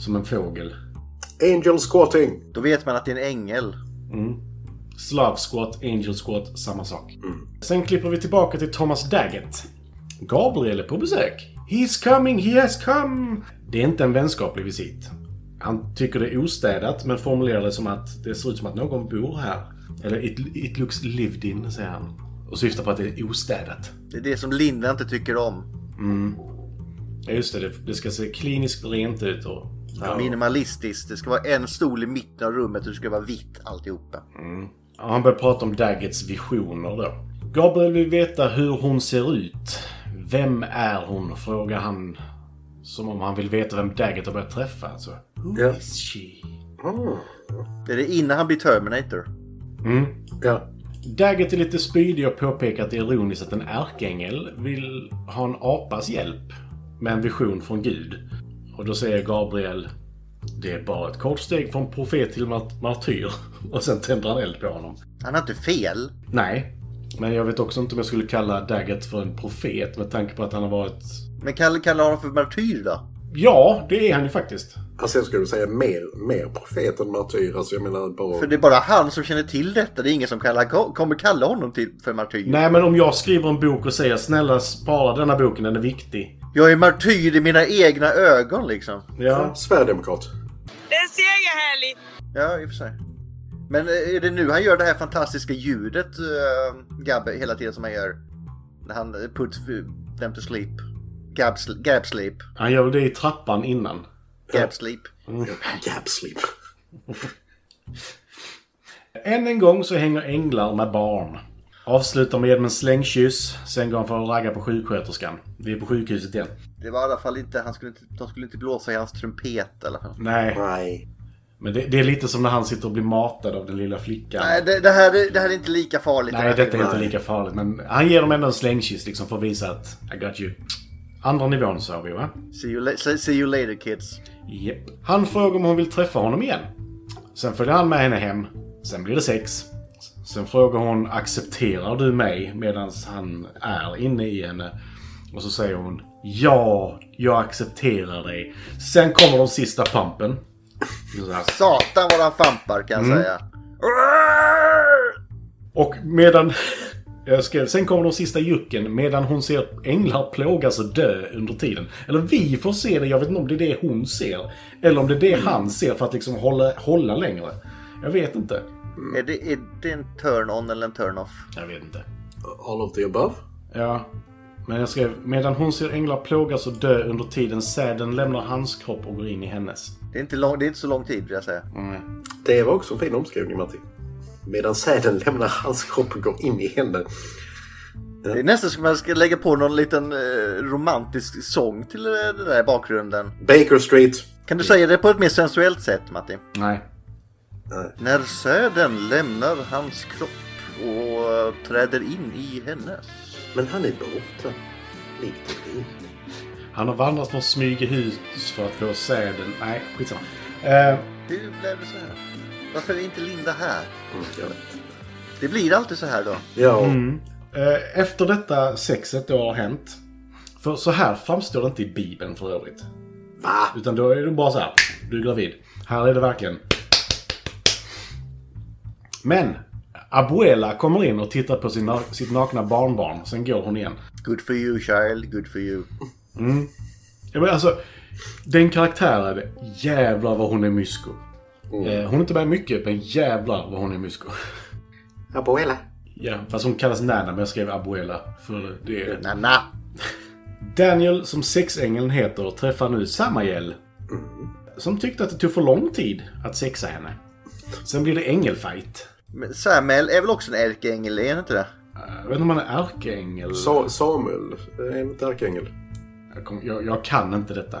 Som en fågel. Angel squatting! Då vet man att det är en ängel. Slav squat, angel squat, samma sak. Sen klipper vi tillbaka till Thomas Daggett. Gabriel är på besök. He's coming, he has come! Det är inte en vänskaplig visit. Han tycker det är ostädat, men formulerar det som att det ser ut som att någon bor här. Eller it, it looks lived in, säger han. Och syftar på att det är ostädat. Det är det som Linda inte tycker om. Ja, just det. Det, det ska se kliniskt rent ut och... Minimalistiskt. Det ska vara en stol i mitten av rummet och det ska vara vitt alltihopa. Ja, Han börjar prata om Daggets visioner då. Gabriel vill veta hur hon ser ut. Vem är hon? Frågar han. Som om han vill veta vem Daggett har börjat träffa. Alltså, who Ja. is she? Det är det innan han blir Terminator. Ja. Daggett är lite spydig och påpekar att det är ironiskt att en ärkeängel vill ha en apas hjälp med en vision från Gud. Och då säger Gabriel det är bara ett kort steg från profet till mart- martyr. Och sen tänder han eld på honom. Han har inte fel. Nej, men jag vet också inte om jag skulle kalla Daggett för en profet med tanke på att han har varit... Men kallar kalla honom för martyr då? Ja, det är han ju faktiskt. Alltså jag skulle säga mer, mer profet än martyr. Alltså jag menar bara... För det är bara han som känner till detta. Det är ingen som kallar, kommer kalla honom till, för martyr. Nej, men om jag skriver en bok och säger snälla spara denna boken, den är viktig. Jag är martyr i mina egna ögon liksom. Ja. Sverigedemokrat. Det är en segerhelg! Ja, i och för sig. Men eh, är det nu han gör det här fantastiska ljudet, eh, Gabbe, hela tiden som han gör? När han eh, puts them to sleep. Gab, sl- gab sleep. Han gör väl det i trappan innan. Gab sleep. Gap sleep. Än en gång så hänger änglar med barn. Avslutar med en slängkyss, sen går han för att ragga på sjuksköterskan. Vi är på sjukhuset igen. Det var i alla fall inte, han skulle inte, de skulle inte blåsa i hans trumpet i alla fall. Nej, Nej. men det, det är lite som när han sitter och blir matad av den lilla flickan. Nej, det, det, här, är- det här är inte lika farligt. Nej, detta är inte lika farligt. Men han ger dem ändå en slängkyss liksom för att visa att I got you. Andra nivån sa vi va? See you, la- see- see you later kids. Japp. Han frågar om hon vill träffa honom igen. Sen följer han med henne hem. Sen blir det sex. Sen frågar hon accepterar du mig medan han är inne i henne. Och så säger hon ja, jag accepterar dig. Sen kommer de sista pumpen. Så här. Satan vad han fampar kan jag säga. Och medan... Jag skrev, sen kommer de sista jucken medan hon ser änglar plågas och dö under tiden. Eller vi får se det, jag vet inte om det är det hon ser. Eller om det är det han ser för att liksom hålla, hålla längre. Jag vet inte. Är, det, är det en turn-on eller en turn-off? Jag vet inte. All of the above. Ja. Men jag skrev, medan hon ser änglar plågas och dö under tiden säden lämnar hans kropp och går in i hennes. Det är inte, lång, det är inte så lång tid vill jag säga. Det var också en fin omskrivning Matti. Medan säden lämnar hans kropp och går in i henne. Det är nästan som att man ska lägga på någon liten eh, romantisk sång till eh, den där bakgrunden. Baker Street. Kan du säga det på ett mer sensuellt sätt, Matti? Nej. När säden lämnar hans kropp och eh, träder in i hennes. Men han är borta. Likt ett vin. Han har vandrat från Smygehus för att få säden... Nej, skitsamma. Eh, Hur blev det så här? Varför är inte Linda här? Mm, jag vet. Det blir alltid så här då. Ja, Eh, Efter detta sexet då har hänt. För så här framstår det inte i Bibeln för övrigt. va? Utan då är det bara så här. Du är gravid. Här är det verkligen. Men! Abuela kommer in och tittar på sin, na- sitt nakna barnbarn. Sen går hon igen. Good for you child, good for you. Ja, men alltså, den karaktären, jävlar vad hon är mysko. Eh, Hon är inte med mycket, men jävlar vad hon är mysko. Abuela. Ja, fast hon kallas Nana, men jag skrev Abuela. För det är Nana! Daniel, som sexängeln heter, träffar nu Samael. Som tyckte att det tog för lång tid att sexa henne. Sen blir det ängelfight. Men Samuel är väl också en ärkeängel, är han inte det? Eh, Jag vet inte om han är ärkeängel. Sa- Samuel. eh, En ärkeängel. Jag, kom, jag, jag kan inte detta.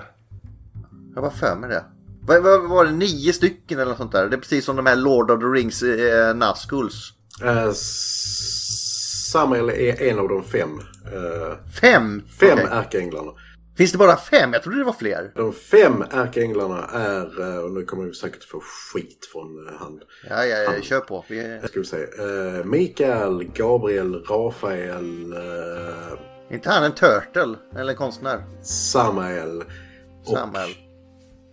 Jag var för mig det. Vad vad- vad var det, nio stycken eller något sånt där? Det är precis som de här Lord of the Rings eh, Nazguls. Eh, S- Samuel är en av de fem. eh, Fem! fem Okej. ärkeänglarna. Finns det bara fem? Jag trodde det var fler. De fem ärkeänglarna är, eh, och nu kommer vi säkert få skit från eh, han, Ja, ja, ja, kör på. Vi... ska vi säga, eh, Mikael, Gabriel, Rafael, eh, Är inte han en turtle? Eller en konstnär? Samael och Samuel.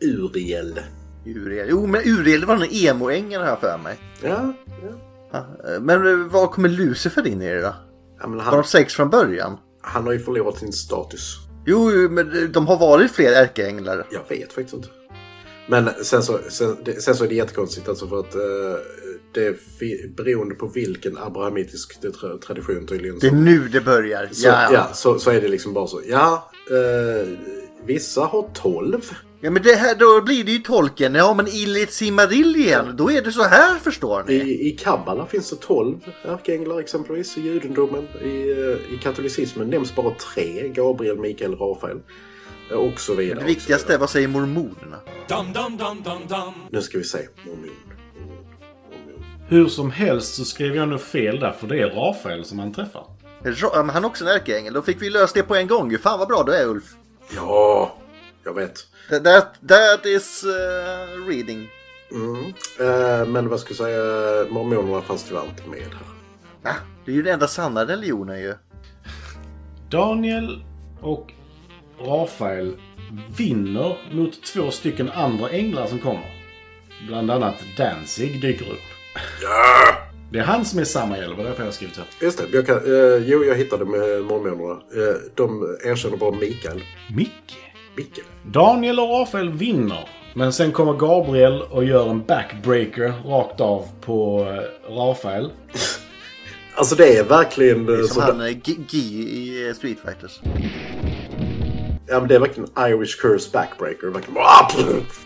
Uriel. Uriel. Jo, men Uriel det var den emo-ängeln har jag för mig. Ja, ja. Ja, eh, Men eh, var kommer Lucifer in i det då? ja men Var de han, sex från början? han har ju förlorat sin status. Jo, jo, men eh, de har varit fler ärkeänglar. Jag vet faktiskt inte. Men sen så, sen, det- sen så är det jättekonstigt alltså för att eh, det är fi- beroende på vilken abrahamitisk det tra- tradition tydligen. Det är nu det börjar. så, ja. Ja, så, så är det liksom bara så. Ja, eh, vissa har tolv. Ja men det här, då blir det ju tolken. Ja men i Simarillion, då är det så här förstår ni. I, I kabbala finns det tolv ärkeänglar exempelvis i judendomen. I, eh, I katolicismen nämns bara tre. Gabriel, Mikael, Rafael. eh, Och så vidare. Det och så viktigaste är vad säger mormonerna? Dum dum dum dum dum. Nu ska vi se. Mormon. Mormon. Mormon. Hur som helst så skrev jag nog fel där, för det är Rafael som han träffar. Ra- ja, men han är också en ärkeängel. Då fick vi löst det på en gång ju. Fan vad bra du är Ulf. Ja, jag vet. That, that, that is eh, reading. Mm. Eh, men vad ska jag säga, mormonerna fanns tyvärr inte med här. Ah, det är ju den enda sanna religionen ju. Daniel och Rafael vinner mot två stycken andra änglar som kommer. Bland annat Danzig dyker upp. Det är han som är samma ängel, det var därför jag har skrivit här. Just det, jag kan, eh, jo jag hittade med mormonerna. Eh, de erkänner bara Mikael. Micke? Mikael? Daniel och Rafael vinner. Men sen kommer Gabriel och gör en backbreaker rakt av på eh, Rafael. Alltså det är verkligen... eh, Som så- han eh, G- G i eh, Street Fighters. ja, men det är verkligen Irish curse backbreaker. Verkligen, ah, pff.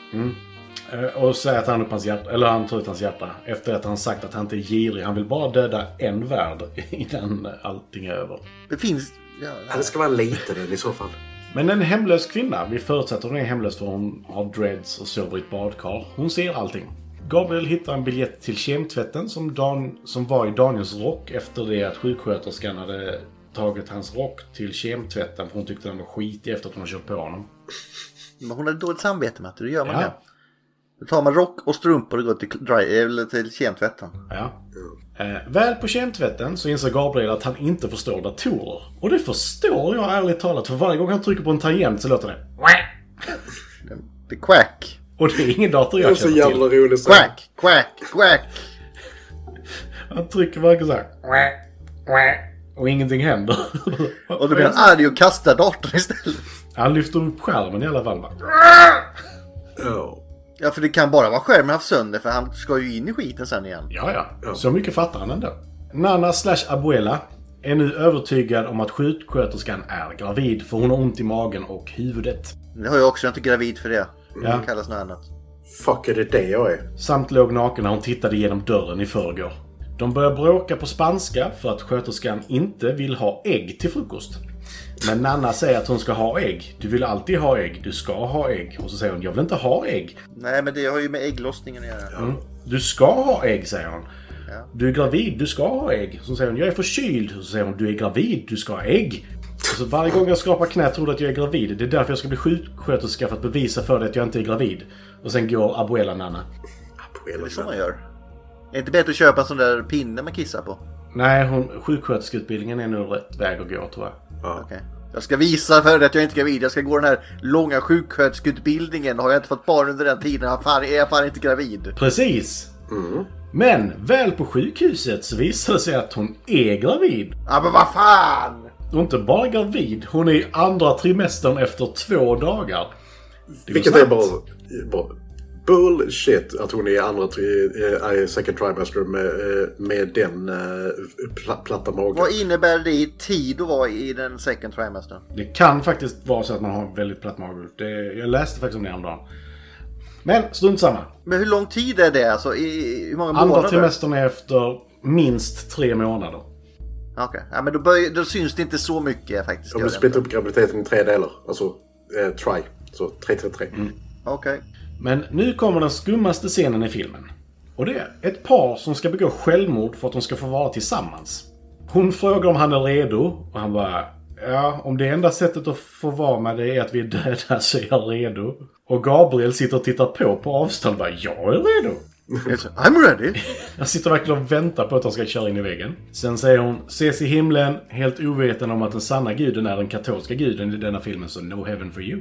Eh, Och säger att han, upp hans hjärta, eller han tar ut hans hjärta. Efter att han sagt att han inte är girig. Han vill bara döda en värld innan allting är över. Det finns... Ja, Ja, det ska vara en liten en i så fall. Men en hemlös kvinna, vi förutsätter hon är hemlös för hon har dreads och sover i ett badkar. Hon ser allting. Gabriel hittar en biljett till kemtvätten som, Dan, som var i Daniels rock efter det att sjuksköterskan hade tagit hans rock till kemtvätten för hon tyckte den var skitig efter att hon hade kört på honom. men hon hade dåligt samvete med det. Då gör man Ja. det. Då tar man rock och strumpor och går till, dry, eller till kemtvätten. Ja. Eh, väl på kemtvätten så inser Gabriel att han inte förstår datorer. Och det förstår jag ärligt talat, för varje gång han trycker på en tangent så låter det Det är quack, Och det är ingen dator Det är jag så känner till. jävla roligt. så. quack, quack, quack. Han trycker verkligen så här. Och ingenting händer. Och "Ah, då blir han arg och kastar datorn istället. Han lyfter upp skärmen i alla fall. va? Ja. Ja, för det kan bara vara skärmen haft sönder för han ska ju in i skiten sen igen. Ja, ja. Så mycket fattar han ändå. Nana slash Abuela är nu övertygad om att sjuksköterskan är gravid för hon har ont i magen och huvudet. Det har jag också, jag är inte gravid för det. Ja. Det kallas något annat. Fuck, är det det jag är? Samt låg naken när hon tittade genom dörren i förrgår. De börjar bråka på spanska för att sköterskan inte vill ha ägg till frukost. Men Nanna säger att hon ska ha ägg. Du vill alltid ha ägg. Du ska ha ägg. Och så säger hon, jag vill inte ha ägg. Nej, men det har ju med ägglossningen att göra. Du ska ha ägg, säger hon. Ja. Du är gravid, du ska ha ägg. Så säger hon, jag är förkyld. Så säger hon, du är gravid, du ska ha ägg. Och Så varje gång jag skrapar knät tror du att jag är gravid. Det är därför jag ska bli sjuksköterska för att bevisa för dig att jag inte är gravid. Och sen går Abuela Nanna. Det är så man gör. Är det inte bättre att köpa en sån där pinne man kissar på? Nej, hon, sjuksköterskeutbildningen är nog rätt väg att gå tror jag. Okej. Jag ska visa för dig att jag inte är gravid. Jag ska gå den här långa sjuksköterskeutbildningen. Har jag inte fått barn under den tiden jag fan- är jag fan inte gravid. Precis! Men väl på sjukhuset så visar det sig att hon är gravid. Ja, men vad fan! Och inte bara gravid, hon är i andra trimestern efter två dagar. Det går Vilket är snabbt. bara, bara bullshit att hon är i andra tri, eh, second trimester med, eh, med den eh, pla, platta magen. Vad innebär det i tid att vara i den second trimestern? Det kan faktiskt vara så att man har en väldigt platt mage. Det, jag läste faktiskt om det häromdagen. Men strunt samma. Men hur lång tid är det alltså? I, hur många månader? Andra trimestern är efter minst tre månader. Okej, ja, men då, börjar, då syns det inte så mycket faktiskt. Om gör du det splitt inte. upp graviditeten i tre delar. Alltså eh, try. Så 333. Mm. Okej. Men nu kommer den skummaste scenen i filmen. Och det är ett par som ska begå självmord för att de ska få vara tillsammans. Hon frågar om han är redo och han bara Ja, om det enda sättet att få vara med det är att vi är döda så är jag redo. Och Gabriel sitter och tittar på på avstånd och bara Jag är redo! Yes, I'm ready! Jag sitter verkligen och väntar på att de ska köra in i väggen. Sen säger hon “Ses i himlen” helt ovetande om att den sanna guden är den katolska guden i denna filmen, så no heaven for you.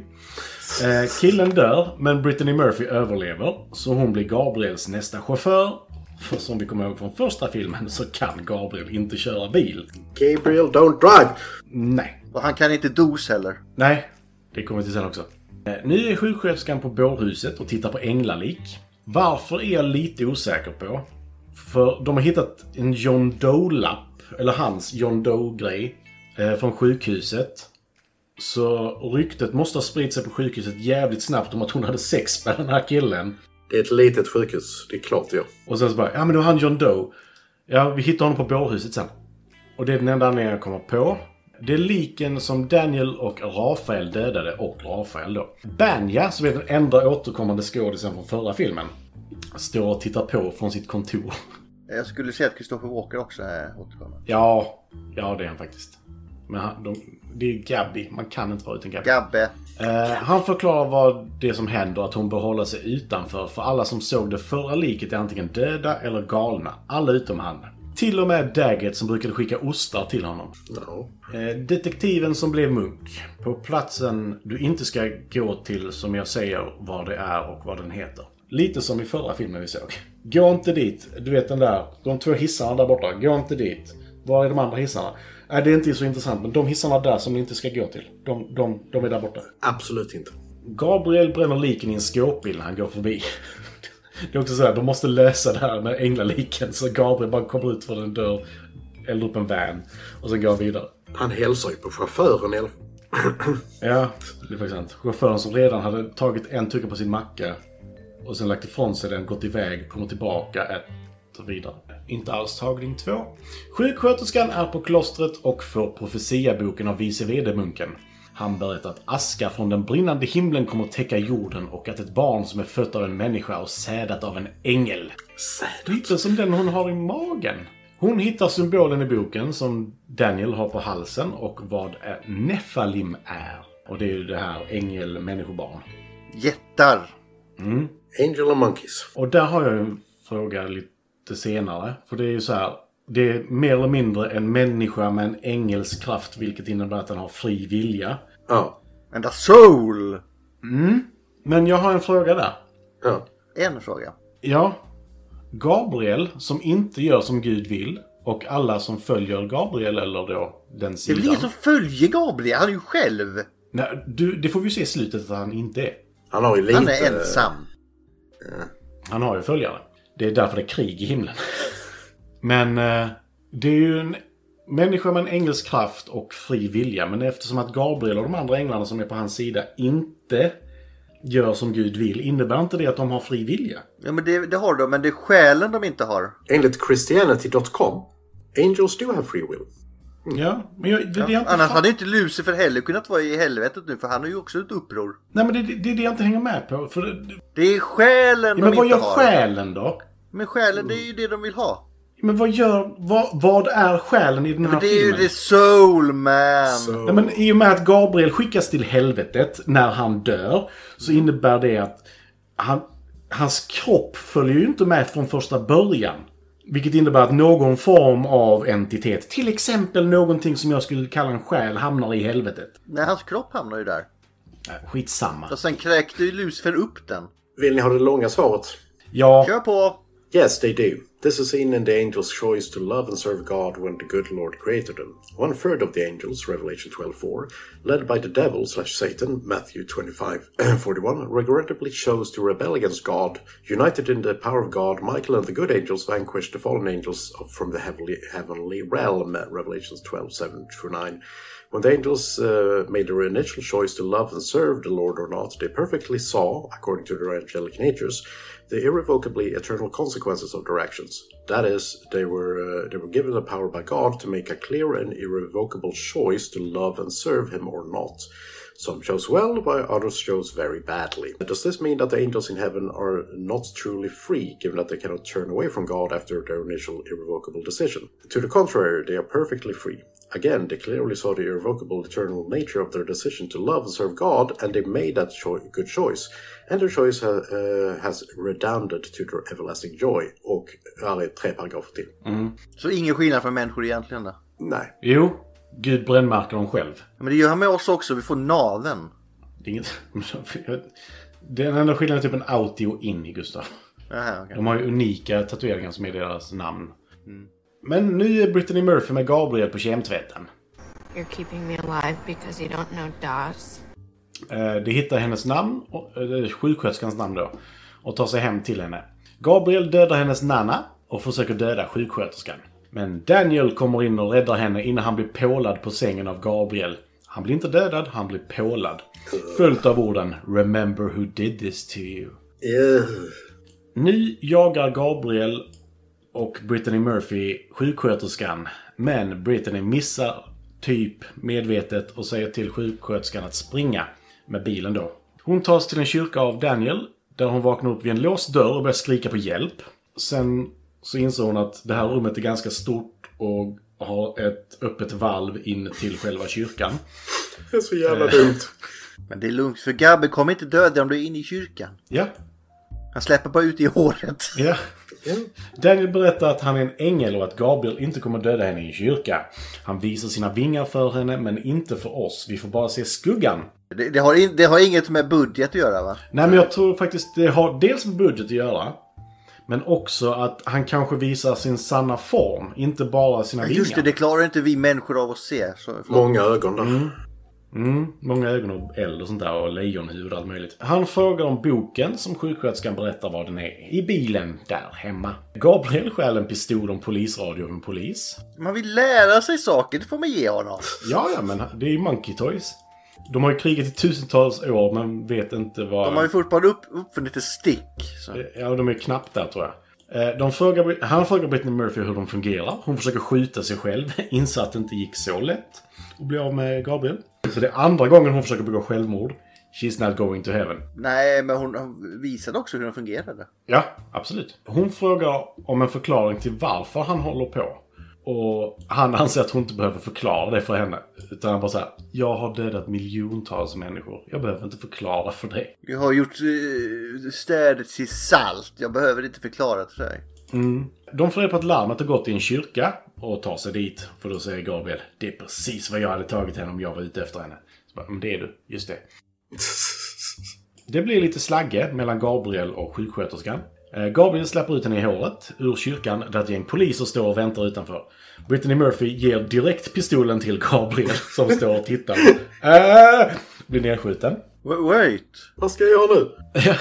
Eh, killen dör, men Brittany Murphy överlever, så hon blir Gabriels nästa chaufför. För som vi kommer ihåg från första filmen så kan Gabriel inte köra bil. Gabriel don't drive! Nej. Och han kan inte dos heller. Nej, det kommer vi till sen också. Eh, Nu är sjuksköterskan på bårhuset och tittar på änglalik. Varför är jag lite osäker på. För de har hittat en John Doe-lapp, eller hans John Doe-grej, eh, från sjukhuset. Så ryktet måste ha spritt sig på sjukhuset jävligt snabbt om att hon hade sex med den här killen. Det är ett litet sjukhus. Det är klart jag. Och sen så bara, ja men det var han John Doe. Ja, vi hittar honom på bårhuset sen. Och det är den enda anledningen jag kommer på. Det är liken som Daniel och Rafael dödade, och Rafael då. Banja, som är den enda återkommande skådisen från förra filmen, står och tittar på från sitt kontor. Jag skulle säga att Christopher Walker också är återkommen. Ja, ja det är han faktiskt. Men han, de, det är Gabby. Man kan inte vara utan Gabby. Gabbe. Eh, han förklarar vad det är som händer, att hon bör hålla sig utanför. För alla som såg det förra liket är antingen döda eller galna. Alla utom han. Till och med Daggett som brukade skicka ostar till honom. Ja. Eh, Detektiven som blev munk. På platsen du inte ska gå till som jag säger vad det är och vad den heter. Lite som i förra filmen vi såg. Gå inte dit. Du vet den där, de två hissarna där borta. Gå inte dit. Var är de andra hissarna? Nej, det är inte så intressant, men de hissarna där som ni inte ska gå till. De, de, de är där borta. Absolut inte. Gabriel bränner liken i en skåpbil när han går förbi. Det är också så här, de måste lösa det här med änglaliken så Gabriel bara kommer ut från en dörr, eldar upp en van och sen går han vidare. Han hälsar ju på chauffören i alla fall. Ja, det är faktiskt sant. Chauffören som redan hade tagit en tugga på sin macka och sen lagt ifrån sig den, gått iväg, kommer tillbaka, äter vidare. Inte alls tagning två. Sjuksköterskan är på klostret och får profetiaboken av vice vd-munken. Han berättar att aska från den brinnande himlen kommer att täcka jorden och att ett barn som är fött av en människa och sädat av en ängel Lite som den hon har i magen. Hon hittar symbolen i boken som Daniel har på halsen och vad är- Nefalim är. Och det är ju det här ängel-människobarn. Jättar. Angel and Monkeys. Och där har jag ju en fråga lite senare. För det är ju så här. Det är mer eller mindre en människa med en ängels kraft vilket innebär att den har fri vilja. Ja. And a soul. Men jag har en fråga där. ja. En fråga. Ja. Gabriel som inte gör som Gud vill och alla som följer Gabriel eller då den Det är sidan. väl ingen som följer Gabriel? Han är ju själv. Nej, du, det får vi se i slutet att han inte är. Han har ju lite... Han är ensam. Han har ju följare. Det är därför det är krig i himlen. Men eh, det är ju en människa med en ängels kraft och fri vilja. Men eftersom att Gabriel och de andra änglarna som är på hans sida inte gör som Gud vill innebär inte det att de har fri vilja. Ja, men det, det har de, men det är själen de inte har. Enligt Christianity.com, Angels do have free will. Ja, men jag, det, det är inte Annars fa- hade ju inte Lucifer heller kunnat vara i helvetet nu, för han har ju också ett uppror. Nej, men det, det, det är det jag inte hänger med på. För, det- Det är själen ja, men de vad inte gör har. själen då? Men själen, det är ju det de vill ha. Men vad gör... Vad, vad är själen i den här Men det är ju filmen? the soul man. Nej, men I och med att Gabriel skickas till helvetet när han dör så innebär det att han, hans kropp följer ju inte med från första början. Vilket innebär att någon form av entitet, till exempel någonting som jag skulle kalla en själ, hamnar i helvetet. Nej, hans kropp hamnar ju där. Äh, Skitsamma. Och sen kräkte ju Lucifer upp den. Vill ni ha det långa svaret? Ja, Kör på! Yes, they do. This is seen in the angels' choice to love and serve God when the good Lord created them. One third of the angels, Revelation 12:4, led by the devil slash Satan, Matthew 25:41, regrettably chose to rebel against God. United in the power of God, Michael and the good angels vanquished the fallen angels of- from the heavenly, heavenly realm, Revelations 12:7 through 9. When the angels uh, made their initial choice to love and serve the Lord or not, they perfectly saw, according to their angelic natures, the irrevocably eternal consequences of their actions. That is, they were uh, they were given the power by God to make a clear and irrevocable choice to love and serve Him or not. Some chose well, while others chose very badly. Does this mean that the angels in heaven are not truly free, given that they cannot turn away from God after their initial irrevocable decision? To the contrary, they are perfectly free. Again, they clearly saw the irrevocable eternal nature of their decision to love and serve God, and they made that choi- good choice. And their choice ha- uh, has redounded to their everlasting joy. Och, ja, det är tre paragrafer till. Så ingen skillnad för människor egentligen. Då. Nej. jo. Gud brännmärker dem själv. Men det gör han med oss också, vi får naveln. Det är inget... Den enda skillnaden är typ en Audi och in i Gustav. Jaha, okej. De har ju unika tatueringar som är deras namn. Men nu är Brittany Murphy med Gabriel på kemtvätten. You're keeping me alive because you don't know DOS. Eh, Det hittar hennes namn, och- eller sjuksköterskans namn då, och tar sig hem till henne. Gabriel dödar hennes nanna och försöker döda sjuksköterskan. Men Daniel kommer in och räddar henne innan han blir pålad på sängen av Gabriel. Han blir inte dödad, han blir pålad. Följt av orden “Remember who did this to you”. Ugh. Nu jagar Gabriel och Brittany Murphy sjuksköterskan. Men Brittany missar typ medvetet och säger till sjuksköterskan att springa med bilen då. Hon tas till en kyrka av Daniel där hon vaknar upp vid en låst dörr och börjar skrika på hjälp. Sen så insåg hon att det här rummet är ganska stort och har ett öppet valv in till själva kyrkan. Det är så jävla dumt. Men det är lugnt för Gabbe kommer inte döda dig om du är inne i kyrkan. Ja, Han släpper bara ut i håret. ja. Daniel berättar att han är en ängel och att Gabriel inte kommer döda henne i en kyrka. Han visar sina vingar för henne, men inte för oss. Vi får bara se skuggan. Det, det, har, in, det har inget med budget att göra va? Nej, men jag tror faktiskt det har dels med budget att göra, men också att han kanske visar sin sanna form, inte bara sina vingar. Just det, det klarar inte vi människor av att se. Så, Många ögon där. Mm, många ögon och eld och sånt där och lejonhuvud och allt möjligt. Han frågar om boken som sjuksköterskan berättar vad den är. I bilen där hemma. Gabriel stjäl en pistol och en polisradio av en polis. Man vill lära sig saker, det får man ge honom. Ja, ja, men det är ju Monkey Toys. De har ju krigat i tusentals år men vet inte vad... De har ju fortfarande upp, uppfunnit ett stick. Så. Ja, de är knappt där tror jag. Eh, De frågar, han frågar Britney Murphy hur de fungerar. Hon försöker skjuta sig själv. Inser att det inte gick så lätt. Och blir av med Gabriel. Så det är andra gången hon försöker begå självmord. She's not going to heaven. Nej, men hon- hon visade också hur den fungerade. Ja, absolut. Hon frågar om en förklaring till varför han håller på. Och han anser att hon inte behöver förklara det för henne. Utan han bara såhär, jag har dödat miljontals människor. Jag behöver inte förklara för dig. Jag har gjort uh, städet till salt. Jag behöver inte förklara till dig. De får reda på att larmet har gått i en kyrka och tar sig dit. För då säger Gabriel, det är precis vad jag hade tagit henne om jag var ute efter henne. Så bara, men det är du, just det. Det blir lite slagge mellan Gabriel och sjuksköterskan. Eh, Gabriel släpper ut henne i håret ur kyrkan där ett gäng poliser står och väntar utanför. Brittany Murphy ger direkt pistolen till Gabriel som står och tittar. Äh, blir nedskjuten. Wa- Wait! Vad ska jag göra nu? Ja,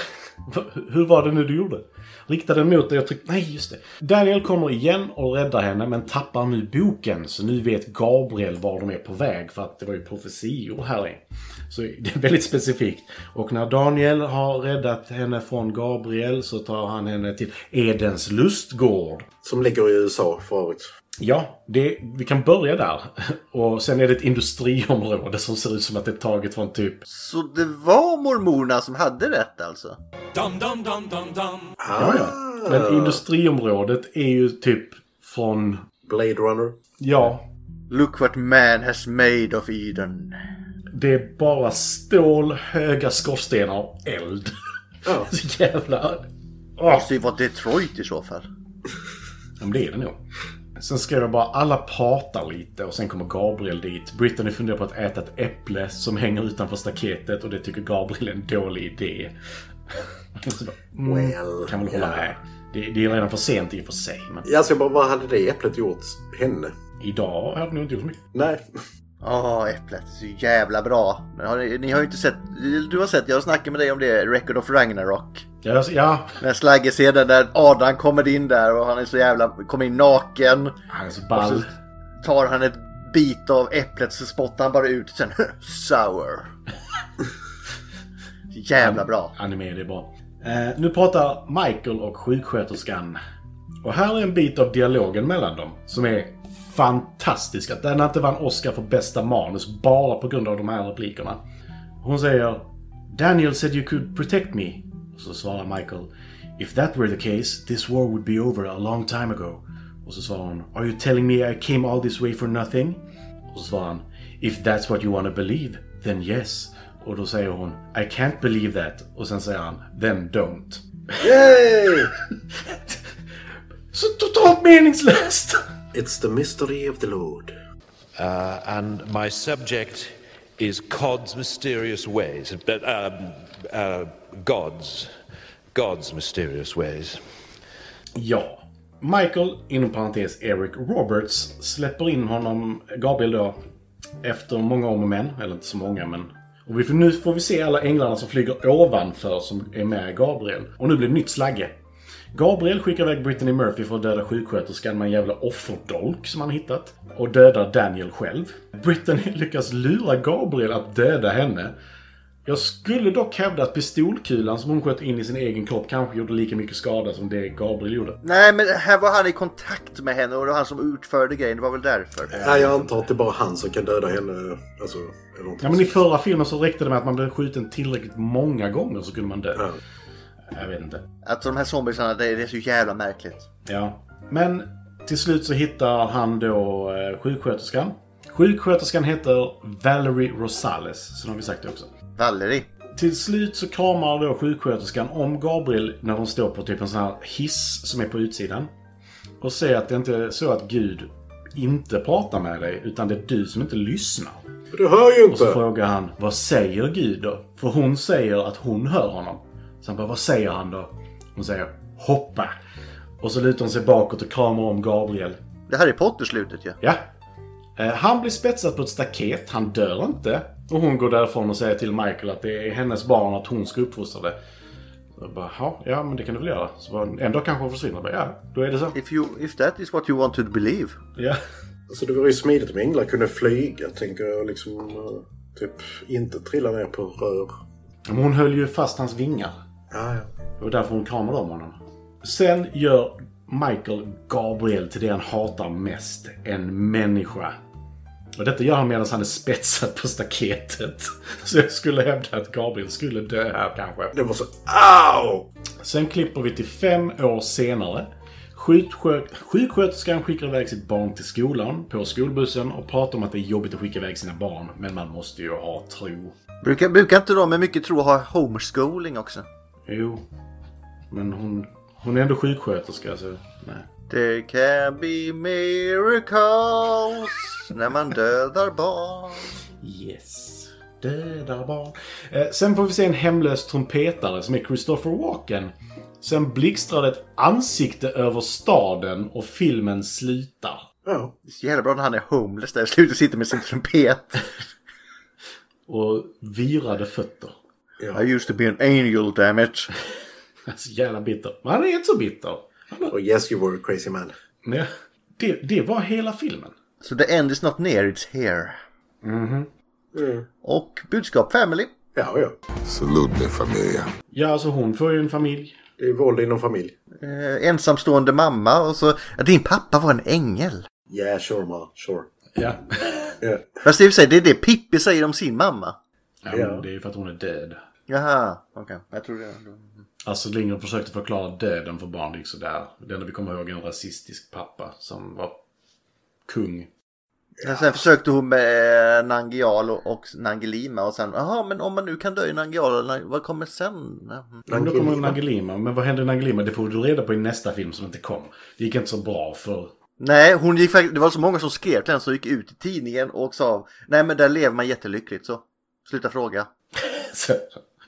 Hur var det nu du gjorde? Riktade den mot dig och tryckte... Nej, just det. Daniel kommer igen och räddar henne, men tappar nu boken. Så nu vet Gabriel var de är på väg, för att det var ju profetior här i. Så det är väldigt specifikt. Och när Daniel har räddat henne från Gabriel så tar han henne till Edens lustgård. Som ligger i USA för övrigt. Ja, det, vi kan börja där. Och sen är det ett industriområde som ser ut som att det är taget från typ Så det var mormonerna som hade rätt alltså? Ja, ja. Men industriområdet är ju typ från... Blade Runner. Ja, Look what man has made of Eden. det är bara stål, höga skorstenar och eld. Ja. Så jävla... Åh, Så det var Detroit i så fall. Ja, men det är det nog. Sen skrev jag bara alla pratar lite och sen kommer Gabriel dit. Brittany funderar på att äta ett äpple som hänger utanför staketet och det tycker Gabriel är en dålig idé. Så bara, mm, Well, kan väl hålla ja. med. Det, det är redan för sent i och för sig. Men Ja, så jag bara, vad hade det äpplet gjort henne? idag hade nog inte gjort så mycket. Nej. Åh, Äpplet är så jävla bra. Men har ni, ni har ju inte sett, du har sett, jag snackade med dig om det, Record of Ragnarok. Ja, ja, När Slagge ser den där Adam kommer in där och han är så jävla, kommer in naken. han är så ball. Tar han ett bit av äpplet så spottar han bara ut sen sour. jävla bra. Anime, det är bra. Eh, nu pratar Michael och sjuksköterskan. Och här är en bit av dialogen mellan dem som är fantastisk. Att den inte vann Oscar för bästa manus bara på grund av de här replikerna. Hon säger “Daniel said you could protect me”. Och så svarar Michael “If that were the case, this war would be over a long time ago”. Och så svarar hon “Are you telling me I came all this way for nothing?” Och så svarar han “If that's what you wanna believe, then yes”. Och då säger hon “I can't believe that” och sen säger han “Then don't”. Yay! Så totalt meningslöst! It's the mystery of the Lord. Uh, and my subject is Cod's mysterious ways, but um, uh, God's, God's mysterious ways. Ja. Michael, inom parentes Eric Roberts, släpper in honom, Gabriel då, efter många om och men. Eller inte så många, men... Och vi får, nu får vi se alla änglarna som flyger ovanför som är med Gabriel. Och nu blir det nytt slagge. Gabriel skickar iväg Brittany Murphy för att döda sjuksköterskan med en jävla offerdolk som han hittat. Och dödar Daniel själv. Brittany lyckas lura Gabriel att döda henne. Jag skulle dock hävda att pistolkulan som hon sköt in i sin egen kropp kanske gjorde lika mycket skada som det Gabriel gjorde. Nej men här var han i kontakt med henne och det var han som utförde grejen, det var väl därför. Nej, jag antar att det är bara han som kan döda henne. Alltså, eller någonting Ja, men i sånt. förra filmen så räckte det med att man blev skjuten tillräckligt många gånger så kunde man dö. Jag vet inte. Att de här zombiesarna, det, det är så jävla märkligt. Ja. Men till slut så hittar han då eh, sjuksköterskan. Sjuksköterskan heter Valerie Rosales, så har vi sagt det också. Valerie. Till slut så kramar då sjuksköterskan om Gabriel när de står på typ en sån här hiss som är på utsidan. Och säger att det inte är så att Gud inte pratar med dig, utan det är du som inte lyssnar. Du hör ju Och så inte! frågar han, vad säger Gud då? För hon säger att hon hör honom. Så han bara, vad säger han då? Hon säger, hoppa! Och så lutar hon sig bakåt och kramar om Gabriel. Det här är Potter-slutet ju. Ja. Eh, Han blir spetsad på ett staket, han dör inte. Och hon går därifrån och säger till Michael att det är hennes barn och att hon ska uppfostra det. Jag bara, "Ja, ja men det kan du väl göra. Så bara, en dag kanske hon försvinner. Jag Bara, ja, då är det så. If, you, if that is what you want to believe. Ja. Alltså det vore ju smidigt om änglar kunde flyga, tänker jag. Liksom, eh, typ inte trilla ner på rör. Men hon höll ju fast hans vingar. Ja, ja. Det var därför hon kramade om honom. Sen gör Michael Gabriel till det han hatar mest. En människa. Och detta gör han medan han är spetsad på staketet. Så jag skulle hävda att Gabriel skulle dö här kanske. Det var så... Au! Sen klipper vi till fem år senare. Sjukskö- Sjuksköterskan skickar iväg sitt barn till skolan på skolbussen och pratar om att det är jobbigt att skicka iväg sina barn, men man måste ju ha tro. Brukar, brukar inte de med mycket tro ha homeschooling också? Jo, men hon, hon är ändå sjuksköterska så nej. There can be miracles när man dödar barn. Yes. Döda barn. Eh, sen får vi se en hemlös trumpetare som är Christopher Walken. Sen blixtrar det ett ansikte över staden och filmen slutar. Ja. Det är så jävla bra när han är homeless där i slutet och sitter med sin trumpet. Och virade fötter. I used to be an angel damn it. Så Alltså, jävla bitter. Men han är inte så bitter. Och Oh, yes you were a crazy man. Nej. Det, det var hela filmen. So the end is not near, it's here. Mm. Och budskap family. Ja, ja. Salute me, familia. Ja, alltså hon får ju en familj. Det är våld inom familj. Eh, ensamstående mamma och så ja, din pappa var en ängel. Yeah, sure ma. Sure. Ja. Yeah. Fast i och för sig, det är det Pippi säger om sin mamma. ja. men Ja. Det är ju för att hon är död. Jaha, okej. Jag tror det. Astrid Lindgren försökte förklara döden för barn. Det gick sådär. Det enda vi kommer ihåg är en rasistisk pappa som var kung. Men Sen försökte hon med eh, Nangial och, och Nangilima och sen, jaha, men om man nu kan dö i Nangial, Nang- vad kommer sen? Mhm. Men då kommer Nagelima. Men vad hände i Nagelima? Det får du reda på i nästa film som inte kom. Det gick inte så bra för... Nej, hon gick, fakt- det var så många som skrev till henne som gick ut i tidningen och sa, nej men där lever man jättelyckligt så. Sluta fråga. Så,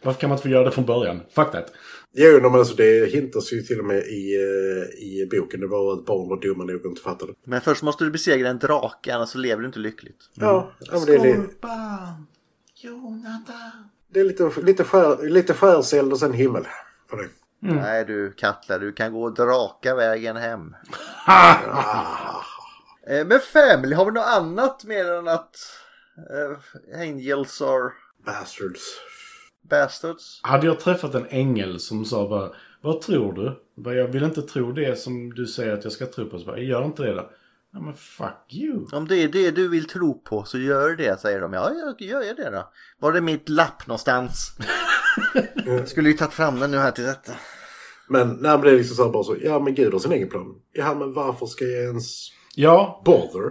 varför kan man inte få göra det från början? Fuck that. Jo, nej, men alltså det hintas ju till och med i, eh, i boken. Det var att barn var dumma nog att inte fatta det. Men först måste du besegra en drake, annars så lever du inte lyckligt. Ja, ja men det är, li- Skorpan! Jonathan! det är lite, lite, skär, lite skärseld och sen himmel. För det. Nej du Katla, du kan gå och draka vägen hem. Eh, Men Family, har vi något annat mer än att eh, Angels are Bastards. bastards? Hade jag träffat en ängel som sa bara Vad tror du? Jag bara, Jag vill inte tro det som du säger att jag ska tro på. Så bara, jag gör inte det då. Nej men fuck you. Om det är det du vill tro på så gör det, säger de. Ja, jag gör jag det då. Var är mitt lapp någonstans? Jag skulle ju tagit fram den nu här till detta. Men, nej, men det är liksom så här bara så. Ja, men gud har sin egen plan. Ja, men varför ska jag ens Ja, bother?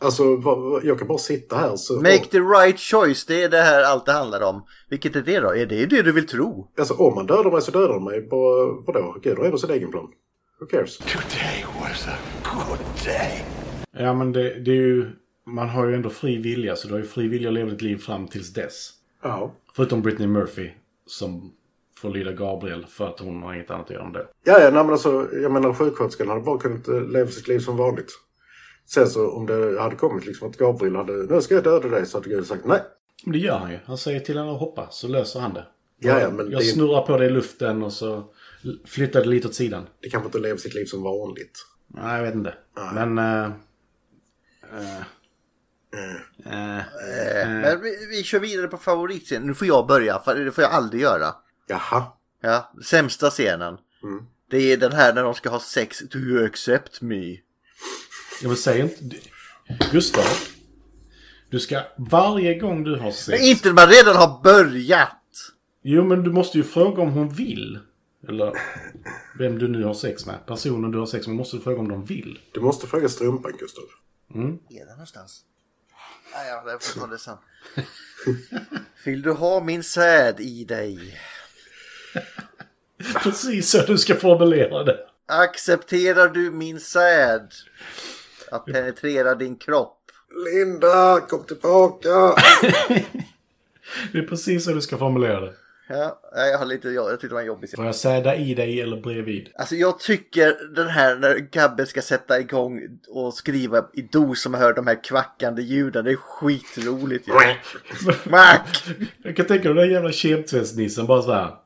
Alltså, vad- vad- jag kan bara sitta här så... Make the right choice, det är det här allt det handlar om. Vilket är det då? Är det det du vill tro? Alltså om man dödar mig så dödar man mig. Bara, vadå? Gud har ändå sin egen plan. Who cares? Today was a good day. ja men det, det är ju... Man har ju ändå fri vilja så du har ju fri vilja att leva ditt liv fram tills dess. Ja. Förutom Britney Murphy som får lyda Gabriel för att hon har inget annat att göra än det. Ja, ja, nej, men alltså, jag menar sjuksköterskan hade bara kunnat eh, leva sitt liv som vanligt. Sen så om det hade kommit liksom att Gabriel hade, nu ska jag döda dig, så hade Gud sagt nej. Men det gör han ju. Han säger till henne att hoppa så löser han det. Ja, ja, men det, Jag är- snurrar på dig i luften och så flyttar det lite åt sidan. det kanske inte lever sitt liv som vanligt. Nej, jag vet inte. Men... eh, eh, eh. Men vi, vi kör vidare på favoritscenen. Nu får jag börja, för det får jag aldrig göra. Jaha. Ja, sämsta scenen. Det är den här när de ska ha sex. Do you accept me? Jag vill säga inte... du- Gustav. Du ska varje gång du har sex... Men inte när man redan har börjat! Jo, men du måste ju fråga om hon vill. Eller... Vem du nu har sex med. Personen du har sex med måste du fråga om de vill. Du måste fråga strumpan, Gustav. Är den någonstans? Nej, ja, jag får ta det sen. Vill du ha min säd i dig? Precis så du ska formulera det. Accepterar du min säd? Att penetrera din kropp? Linda, kom tillbaka! Det är precis så du ska formulera det. Ja, nej, jag har lite, jag, jag tyckte det var en jobbig scen. Får jag säda i dig eller bredvid? Alltså jag tycker den här när Gabbe ska sätta igång och skriva i dos man hör de här kvackande ljuden. Det är skitroligt ju. Mack! Jag kan tänka mig den där jävla kemtvättsnissen bara så här.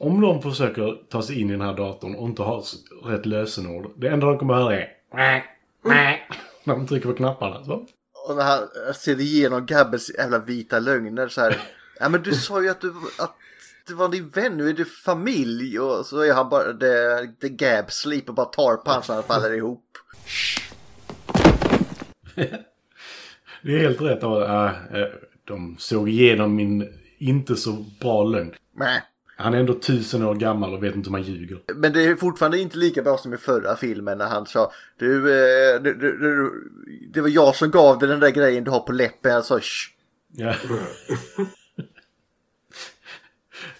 Om de försöker ta sig in i den här datorn och inte har s- rätt lösenord. Det enda de kommer höra är... "Mäh, mäh", När de trycker på knapparna. Så. Och när han ser igenom Gabbes jävla vita lögner så här. Ja men du sa ju att du att det var din vän, nu är du familj. Och så är han bara the, the Gab sleep och bara tar på honom så han faller ihop. Det är helt rätt. Och, äh, äh, de såg igenom min inte så bra lögn. Mäh. Han är ändå tusen år gammal och vet inte hur man ljuger. Men det är fortfarande inte lika bra som i förra filmen när han sa du, eh, du, du, du det var jag som gav dig den där grejen du har på läppen. Jag sa Shh. Ja.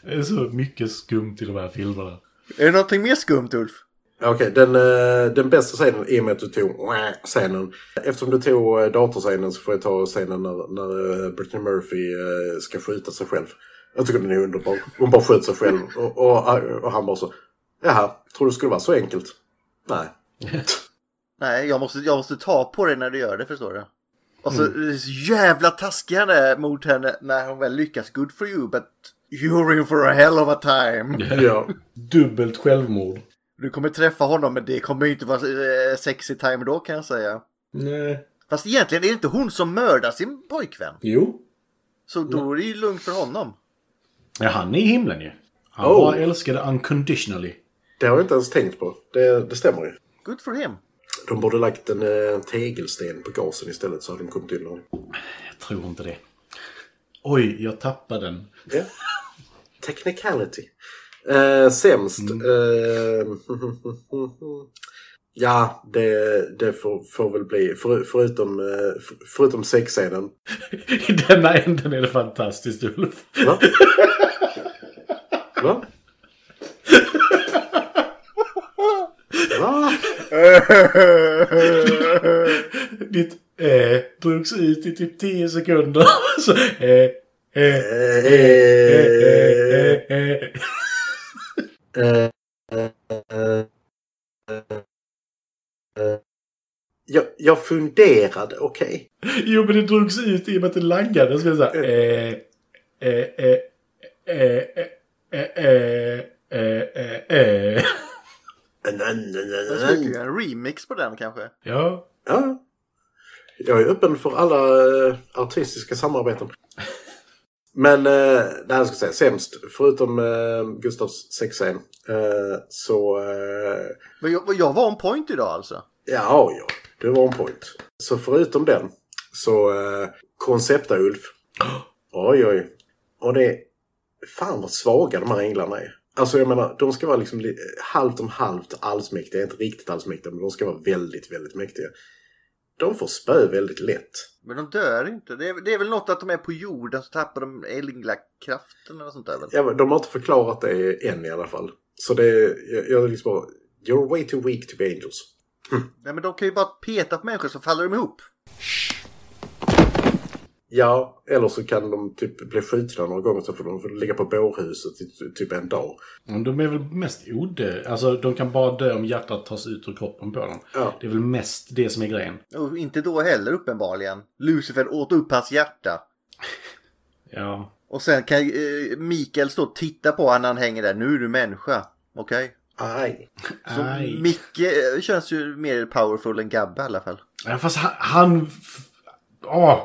Det är så mycket skumt i de här filmerna. Är det någonting mer skumt Ulf? Okej, den, eh, den bästa scenen i och med att du tog "Wah" scenen. Eftersom du tog eh, datorscenen så får jag ta scenen när, när eh, Brittany Murphy eh, ska skjuta sig själv. Jag tycker den är underbar. Hon bara sköt sig själv och, och, och han bara så. Jaha, tror du det skulle vara så enkelt? Nej. Nej, jag måste, jag måste ta på dig när du gör det förstår du. Och så det är så jävla taskig han är mot henne när hon väl lyckas. Good for you but you're in for a hell of a time. Ja. Dubbelt självmord. Du kommer träffa honom men det kommer ju inte vara eh, sexy time då kan jag säga. Nej. Fast egentligen är det inte hon som mördar sin pojkvän. Jo. Så då är det ju lugnt för honom. Ja, han är i himlen ju. Han Oh. bara älskar det unconditionally. Det har jag inte ens tänkt på. Det, det stämmer ju. Good for him. De borde lagt en eh, tegelsten på gasen istället så hade de kommit undan. Jag tror inte det. Oj, jag tappade den. Ja. Technicality. Eh, sämst. Mm. Eh, ja, det, det får, får väl bli. För, förutom, eh, för, förutom sexscenen. I denna änden är det fantastiskt, Ulf. Va? Va? Va? Ditt eh drogs ut i typ 10 sekunder. Så eh, eh, Eh, eh, eh, eh, eh. eh, eh, eh. Jag, jag funderade, okej. Jo, men det drogs ut i och med att det laggade. Så blev det så här, eh, eh, eh, eh, eh, eh, eh, eh, eh. Jag skulle kunna göra Alltså, en remix på den kanske. Ja. Ja. Jag är öppen för alla eh, artistiska samarbeten. Men eh, det här ska jag säga, sämst, förutom eh, Gustavs sexscen, eh, så... Eh, Men jag, jag var on point idag alltså. ja, ja, du var on point. Så förutom den, så eh, koncepta-Ulf. Oj, oj. Och det är... Fan vad svaga de här änglarna är. Alltså jag menar, de ska vara liksom li- halvt om halvt allsmäktiga. Inte riktigt allsmäktiga, men de ska vara väldigt, väldigt mäktiga. De får spö väldigt lätt. Men de dör inte. Det är, det är väl något att de är på jorden så tappar de änglakraften eller något sånt där. väl? Ja, men de har inte förklarat det än i alla fall. Så det är, jag, jag är liksom bara, you're way too weak to be angels. Nej men de kan ju bara peta på människor så faller de ihop. Ja, eller så kan de typ bli skjutna några gånger så får de får ligga på bårhuset i ty- typ en dag. Men De är väl mest odöda. Alltså, de kan bara dö om hjärtat tas ut ur kroppen på dem. Ja. Det är väl mest det som är grejen. Och inte då heller uppenbarligen. Lucifer åt upp hans hjärta. Ja. Och sen kan eh, Mikael stå och titta på honom när han hänger där. Nu är du människa. Okej? Aj. Så Aj. Micke eh, känns ju mer powerful än Gabbe i alla fall. Ja, fast han... han oh.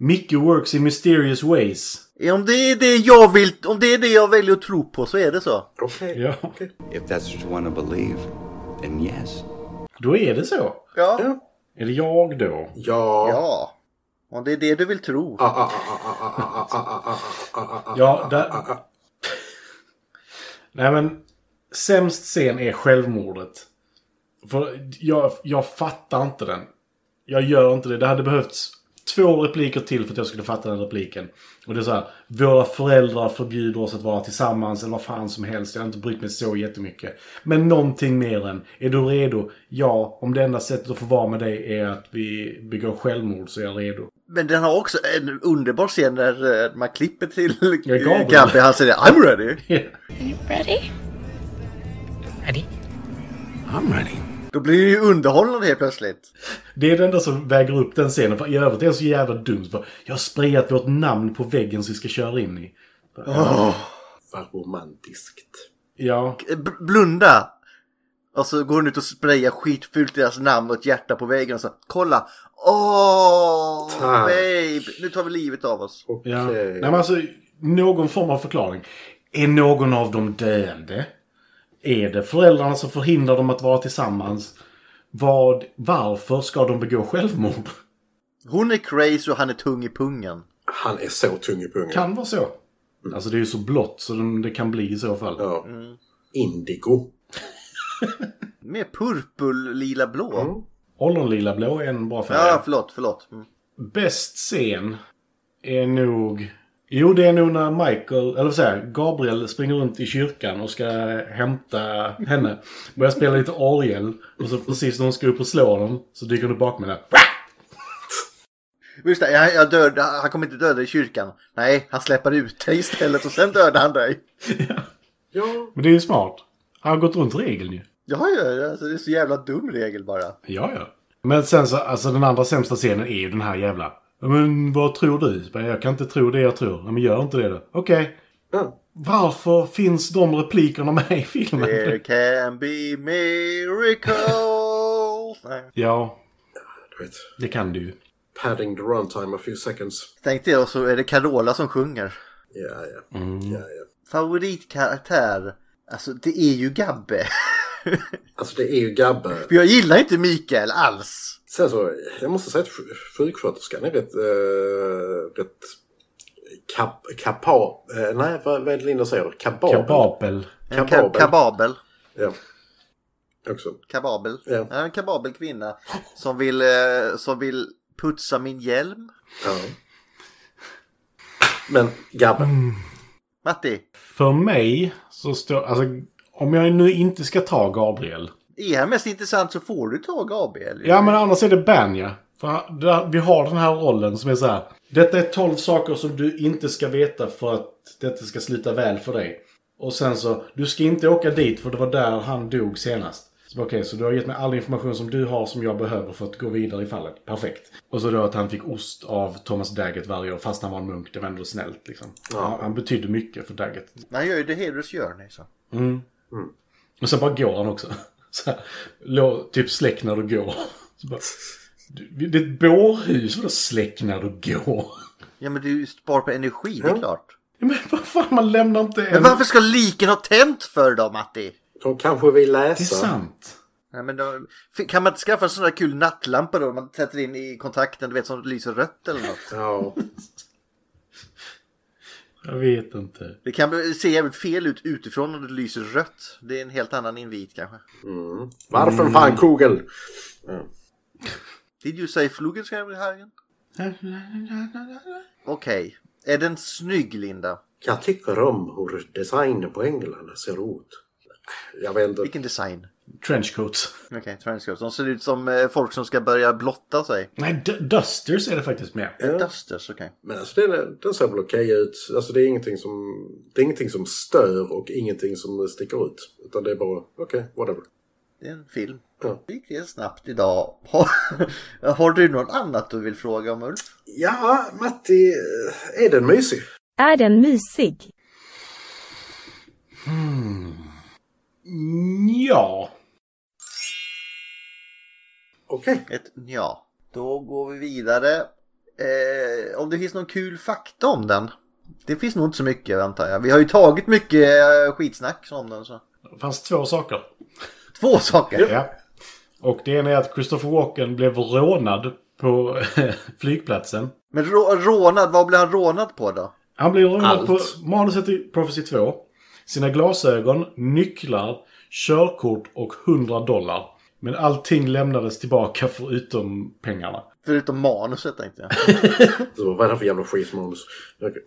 Mickey works in mysterious ways. Eh, Om det är det jag vill, om det är det jag väljer att tro på så är det så. Okej. Ja. If that's what you want to believe, then yes. Då är det så. Ja. Är det jag då? Ja. ja. Ja. Om det är det du vill tro. Ah, ah, ah, ah, ah, ah, ah, ah, ah, ah, ah, ah, ah. Ja, där... Nej men, sämst scen är självmordet. För jag, jag fattar inte den. Jag gör inte det. Det hade behövts två repliker till för att jag skulle fatta den repliken. Och det är så här, våra föräldrar förbjuder oss att vara tillsammans eller vad fan som helst. Jag har inte brytt mig så jättemycket. Men någonting mer än, är du redo? Ja, om det enda sättet att få vara med dig är att vi begår självmord så är jag redo. Men den har också en underbar scen där eh, man klipper till eh, Ja, Gabriel. Gambi. Han säger I'm ready. Ready? Då blir det ju underhållande helt plötsligt. Det är det enda som väger upp den scenen. För I övrigt är det så jävla dumt. Bara, Jag har sprayat vårt namn på väggen som vi ska köra in i. Vad romantiskt. Ja, B- Eh, blunda! Och så går hon ut och sprayar skitfult deras namn och ett hjärta på väggen och så kolla! Åh, Tack. babe! Nu tar vi livet av oss. Okej. ja. Nej, men alltså, någon form av förklaring. Är någon av dem döende? Är det föräldrarna som förhindrar dem att vara tillsammans? Vad, varför ska de begå självmord? Hon är crazy och han är tung i pungen. Han är så tung i pungen. Kan vara så. Alltså det är ju så blått så de- det kan bli i så fall. Ja. Indigo. Mer purpur, lila, blå. Ollonlila blå är en bra färg. Ja, förlåt, förlåt. Mm. Bäst scen är nog... Jo, det är nog när Michael, eller vad säger jag, Gabriel springer runt i kyrkan och ska hämta henne. Börjar spela lite Ariel. Och så precis när hon ska upp och slå honom så dyker hon upp bakom henne. Just det, jag, jag död, han kommer inte döda dig i kyrkan. Nej, han släpper ut dig istället och sen dödar han dig. Ja. Men det är ju smart. Han har gått runt regeln ju. Ja, ja, ja, alltså, det är så jävla dum regel bara. Ja, ja. Men sen så, alltså den andra sämsta scenen är ju den här jävla... Men vad tror du? Så bara, Jag kan inte tro det jag tror. "Ja, Men gör inte det då. Okej. Ja. Varför finns de replikerna med i filmen? There can be miracles. Nej. Ja, Du vet. det kan du ju. Padding the runtime a few seconds. Tänk dig och så är det Carola som sjunger. Ja, ja. ja, ja. favoritkaraktär, alltså det är ju Gabbe. Alltså det är ju Gabbe. För jag gillar inte Mikael alls. Sen så, jag måste säga att sj- sjuksköterskan är rätt... Eh, rätt kap, kapa, eh, nej, vad, vad är det Linda säger? Kababel. Kababel. En ka- kababel. Ja. Också. Kababel. Ja. Ja. En kababel kvinna som vill, eh, som vill putsa min hjälm. Ja. Men Gabbe. Mm. Matti, För mig så står... Alltså, om jag nu inte ska ta Gabriel. är han mest intressant så får du ta Gabriel. Ja, men annars är det Banja. För han- där- vi har den här rollen som är så här. Detta är 12 saker som du inte ska veta för att detta ska sluta väl för dig. Och sen så, du ska inte åka dit för det var där han dog senast. Så bara, Okej, så du har gett mig all information som du har som jag behöver för att gå vidare i fallet. Perfekt. Och så då att han fick ost av Thomas Daggett varje år fast han var en munk. Det var ändå snällt liksom. Han, han betydde mycket för Daggett. Han gör liksom. ju The Heroes Journey. Så. Och sen bara går han också. Så här, lå- typ släck när du går. Så bara, du, det är ett bårhus, vadå släck när du går? Ja men du spar på energi, det är klart. Ja, Men vad fan, man lämnar inte en... Men varför ska liken ha tänt för då Matti? De kanske vill Det är läsa. sant. Nej, men då, kan man inte skaffa en sån där kul nattlampa då? Man sätter in i kontakten, du vet som lyser rött eller något. Ja. Jag vet inte. Det kan se jävligt fel ut utifrån om det lyser rött. Det är en helt annan invit kanske. Varför fan Kugel? Did you say Flugenskärmhagen? Okej. Är den snygg, Linda? Jag tycker om hur designen på England ser ut. Jag vet inte. Vilken design? Trenchcoats. Okej, transcripts. De ser ut som eh, folk som ska börja blotta sig. Nej, d- dusters är det faktiskt med. Ja. Dusters, okej. Men alltså den, den ser väl okej ut. Alltså det är, ingenting som, det är ingenting som stör och ingenting som sticker ut. Utan det är bara okej, whatever. Det är en film. Ja. Det gick det snabbt idag. Har, har du något annat du vill fråga om, Ulf? Ja, Matti, eh, är den mysig? Är den mysig? Mm, Ja. Okej. Ett ja. Då går vi vidare. Eh, om det finns någon kul fakta om den? Det finns nog inte så mycket antar jag. Vi har ju tagit mycket eh, skitsnack om den. Så. Det fanns två saker. Två saker. Ja. Och det ena är att Christopher Walken blev rånad på flygplatsen. Men rå, rånad, vad blev han rånad på då? Han blev rånad Allt. på manuset i Prophecy 2. sina glasögon, nycklar, körkort och 100 dollar. Men allting lämnades tillbaka förutom pengarna. Förutom manuset tänkte jag. Så vad är det här för jävla skitmanus? Okej.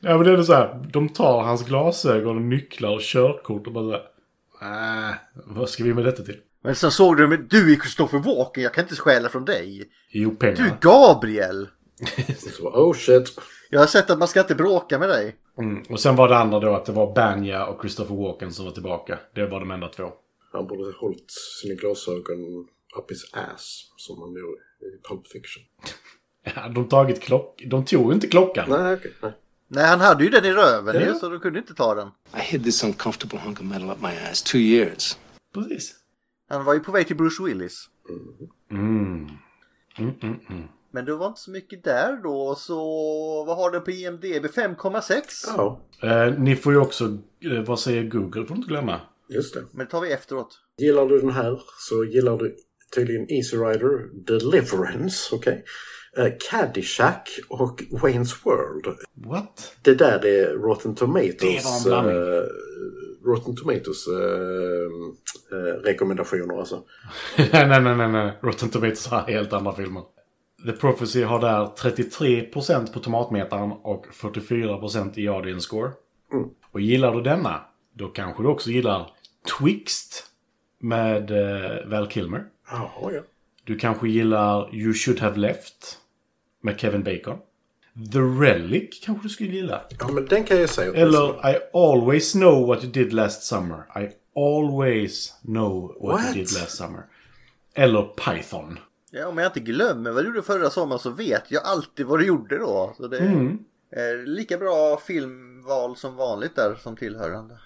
ja men det är det så här. De tar hans glasögon, och nycklar och körkort och bara så här. Äh, vad ska vi med detta till? Men sen såg du, men du är Christopher Walken, jag kan inte stjäla från dig. Jo, Du är pengar. Gabriel! Så bara, oh shit. Jag har sett att man ska inte bråka med dig. Mm. Och sen var det andra då att det var Banja och Christopher Walken som var tillbaka. Det var de enda två. Han borde ha hållit sina glasögon up his ass, som han gjorde i Pulp Fiction. Hade de tagit klock... De tog ju inte klockan. Nej, okej. nej. Nej, han hade ju den i röven ju, Ja. så du kunde inte ta den. I hid this uncomfortable hunk of metal up my ass two years. Precis. Han var ju på väg till Bruce Willis. Mm. Mm, mm, mm. Men det var inte så mycket där då, så vad har du på IMDB? 5,6? Ja, Eh, ni får ju också... Eh, vad säger Google? får du inte glömma. just det. Men det tar vi efteråt. Gillar du den här så gillar du tydligen Easy Rider, Deliverance, okej? Eh, Caddyshack och Wayne's World. What? Det där är Rotten Tomatoes. Det var en blandning. eh, Rotten Tomatoes eh, eh, rekommendationer alltså. nej, nej, nej, nej, nej. Rotten Tomatoes har helt andra filmer. The Prophecy har där 33% på tomatmetaren och 44% i audience score. Och gillar du denna, då kanske du också gillar Twixt med eh, Val Kilmer. Jaha, ja. Du kanske gillar You should have left med Kevin Bacon. The Relic kanske du skulle gilla. Ja, men den kan jag säga. Alltså- Eller I always know what you did last summer. I always know what, What? you did last summer. Eller Python. Ja, om jag inte glömmer vad du gjorde förra sommaren så vet jag alltid vad du gjorde då. Så det är Mm. eh, lika bra filmval som vanligt där som tillhörande.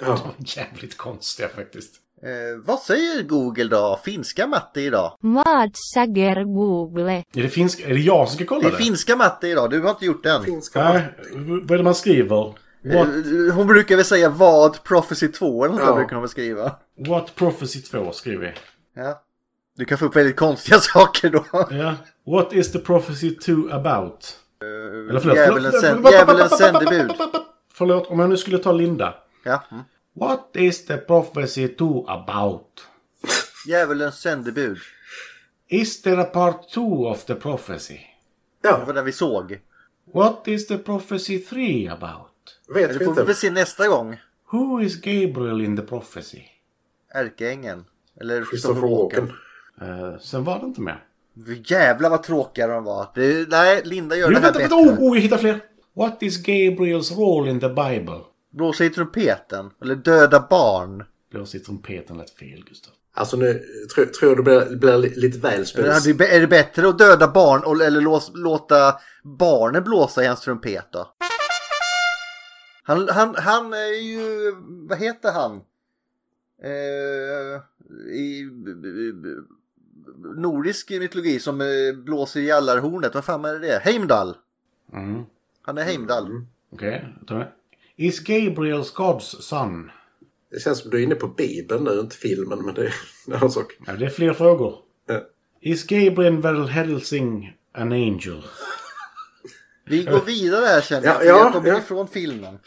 Ja. Jävligt konstiga faktiskt. Eh, vad säger Google då? Finska matte idag? Vad säger Google? Är det, finsk, är det jag som ska Det kolla är det? finska matte idag, du har inte gjort den. Finska Nej, vad är det man skriver? Eh, What, Hon brukar väl säga vad Prophecy 2 eller något Ja. ja. brukar hon väl skriva. what Prophecy 2 skriver vi. Ja. Du kan få upp väldigt konstiga saker då. Ja. What is the Prophecy 2 about? Eller förlåt. Djävulens förlåt, Eh, sänd- förlåt, djävulens sändebud. Förlåt, om jag nu skulle ta Linda. Ja. Mm. What is the Prophecy 2 about? Djävulens sändebud. Is there a part 2 of the prophecy? Det ja, var den vi såg. What is the prophecy 3 about? vet Det vi får vi inte. väl se nästa gång. Who is Gabriel in the prophecy? Ärkeängeln. Eller Christopher Walken. Eh, sen var det inte mer. Jävlar vad tråkiga de var. Det, nej, Linda gör Jo, det här vänta, bättre. vänta! Oh, oh, jag hittar fler! What is Gabriels roll in the Bible? Blåsa i trumpeten. Eller döda barn. Blås i trumpeten lät fel, Gustav. Alltså nu tror, tror jag det blir, blir li- lite väl Eller hade- spes. är det bättre att döda barn och- eller lås, låta barnen blåsa i hans trumpet då? Han, han, han är ju, vad heter han? Eh, I b- b- b- nordisk mytologi som eh, blåser i jallarhornet. Vad fan är det? Heimdall! Mm. Han är Heimdall. Mm. Okej, jag tar med. Is Gabriels God's son? Det känns som du är inne på Bibeln nu, inte filmen, men det är en annan sak. Ja, det är fler frågor. Eh. Ja. Is Gabriel Van Helsing an angel? Vi går vidare här känner jag. Ja, för jag ja, kommer ja. ifrån filmen.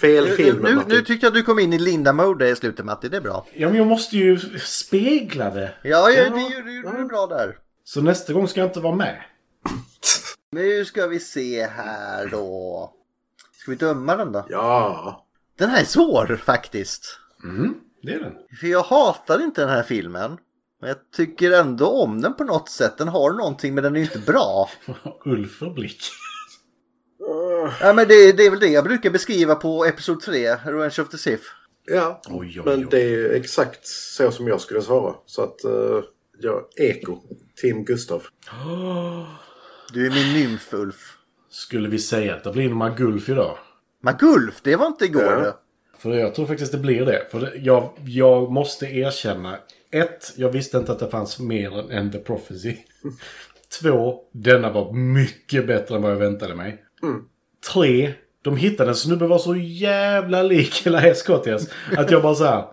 Fel Nu, film. nu, Matti. nu tyckte jag att du kom in i Linda-mode i slutet Matti, det är bra. Ja, men jag måste ju spegla det. Ja, ja, det gjorde du gjorde du bra där. Så nästa gång ska jag inte vara med. Nu ska vi se här då. Ska vi döma den då? Ja. Den här är svår faktiskt. Mm, det är den. För jag hatar inte den här filmen. Men jag tycker ändå om den på något sätt. Den har någonting men den är ju inte bra. Ulf och Blick. Ja men det, det är väl det jag brukar beskriva på Episod 3, Revenge of the Sith. Ja. Oj, oj, oj. Men det är ju exakt så som jag skulle svara. Så att eh, jag eko. Tim Gustav. Du är min nymf Ulf. Skulle vi säga att det blir en Magulf idag? Magulf, det var inte igår Ja. du. För jag tror faktiskt det blir det. För det, jag, jag måste erkänna. Ett, jag visste inte att det fanns mer än The Prophecy. Två, denna var mycket bättre än vad jag väntade mig. Tre, de hittade en snubbe var så jävla lik hela SKTS. Att jag bara så här.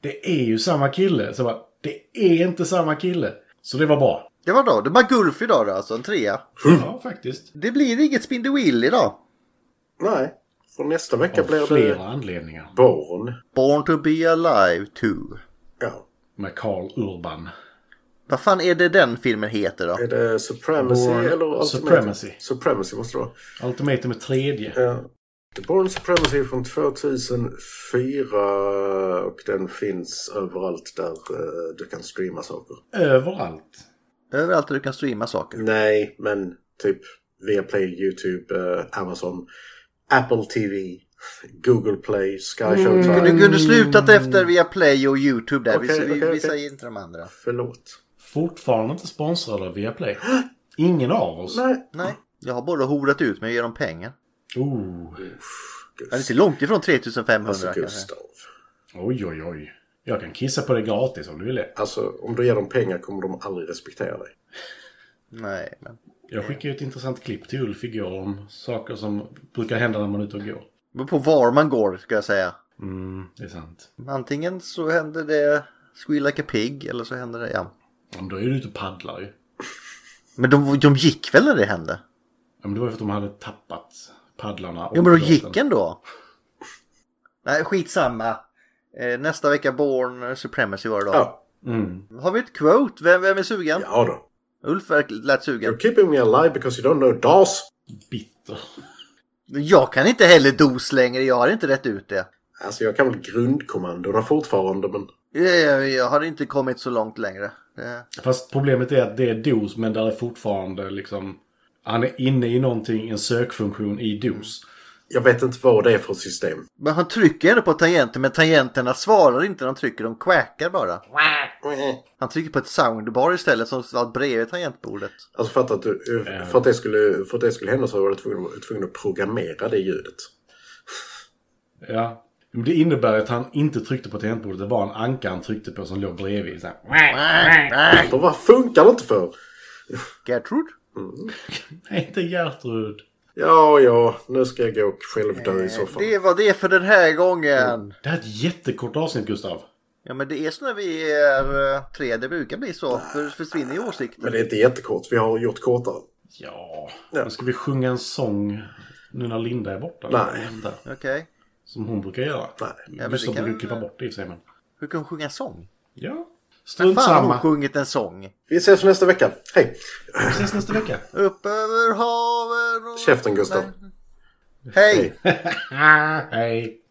Det är ju samma kille. Så jag bara, det är inte samma kille. Så det var bra. Det var då. Det var Magulf idag då alltså, en trea. Ja, faktiskt. Det blir inget Spindy Wheel idag. Nej. För nästa vecka Av blir det... flera anledningar. Born. Born to be alive 2. Ja. Med Carl Urban. Vad fan är det den filmen heter då? Är det Supremacy Born eller Ultimate? Supremacy. Supremacy måste det vara. Ultimatum är tredje. Ja. The Born Supremacy är från 2004 och den finns överallt där eh, du kan streama saker. Överallt. Överallt där du kan streama saker. Nej, men typ Viaplay, YouTube, eh, Amazon, Apple TV, Google Play, Sky Showtime. Du kunde slutat efter via Play och YouTube där. vi, Okej, vi, okej, vi okej. säger inte de andra. Förlåt. Fortfarande inte sponsrade av Viaplay. Ingen av oss. Nej. Nej, jag har både horat ut mig och ger dem pengar. Oh. Ja, det ser långt ifrån 3500 Alltså kanske. Gustav. Oj, oj, oj. Jag kan kissa på det gratis om du vill det. Alltså om du ger dem pengar kommer de aldrig respektera dig. Nej, men. Jag skickade ju ett intressant klipp till Ulf igår om saker som brukar hända när man är ute och går. Det beror på var man går ska jag säga. Mm, det är sant. Antingen så händer det Squeal like a pig eller så händer det, ja. Ja, Men då är du ute och paddlar ju. Men de, de gick väl när det hände? Ja, men det var ju för att de hade tappat paddlarna. och Jo men de båten. gick ändå. Nej, skitsamma. Eh, nästa vecka Born Supremacy var det då. Ja, Mm. Har vi ett quote? Vem, vem är sugen? ja då. Ulf verk- lät sugen. You're keeping me alive because you don't know DAS. Bitter. Jag kan inte heller dos längre, jag har inte rätt ut det. Alltså jag kan väl grundkommandona fortfarande men... Jag, jag, jag har inte kommit så långt längre. Det- Fast problemet är att det är DOS men där är fortfarande liksom... Han är inne i någonting, en sökfunktion i DOS. Jag vet inte vad det är för system. Men han trycker ändå på tangenten, men tangenterna svarar inte när han trycker, de quackar bara. Han trycker på ett soundbar istället som var bredvid tangentbordet. Alltså för att, att, du- för att, det, skulle, för att det skulle hända så var du tvungen, tvungen att programmera det ljudet. Ja. Men det innebär att han inte tryckte på tangentbordet. Det var en anka han tryckte på som låg bredvid. Så här. Så vad funkar det inte för? Gertrud? Nej, inte Gertrud. Ja, ja, nu ska jag gå och självdö i soffan. Det var det för den här gången. Det här är ett jättekort avsnitt, Gustav. Ja men det är så när vi är eh, tre, det brukar bli så. För försvinner ju åsikter. Men det är inte jättekort, vi har gjort kortare. Ja. Ja. Nu ska vi sjunga en sång nu när Linda är borta. Nej. Där, Okej. Som hon brukar göra. Nej. men Gustav det kan- brukar ju klippa bort det i och för sig, men... Hur kan hon sjunga en sång? Ja. När Strunt fan har hon samma. sjungit en sång? Vi ses nästa vecka. Hej! Vi ses nästa vecka. Upp över haven och... Käften Gustav. Hej. Hej.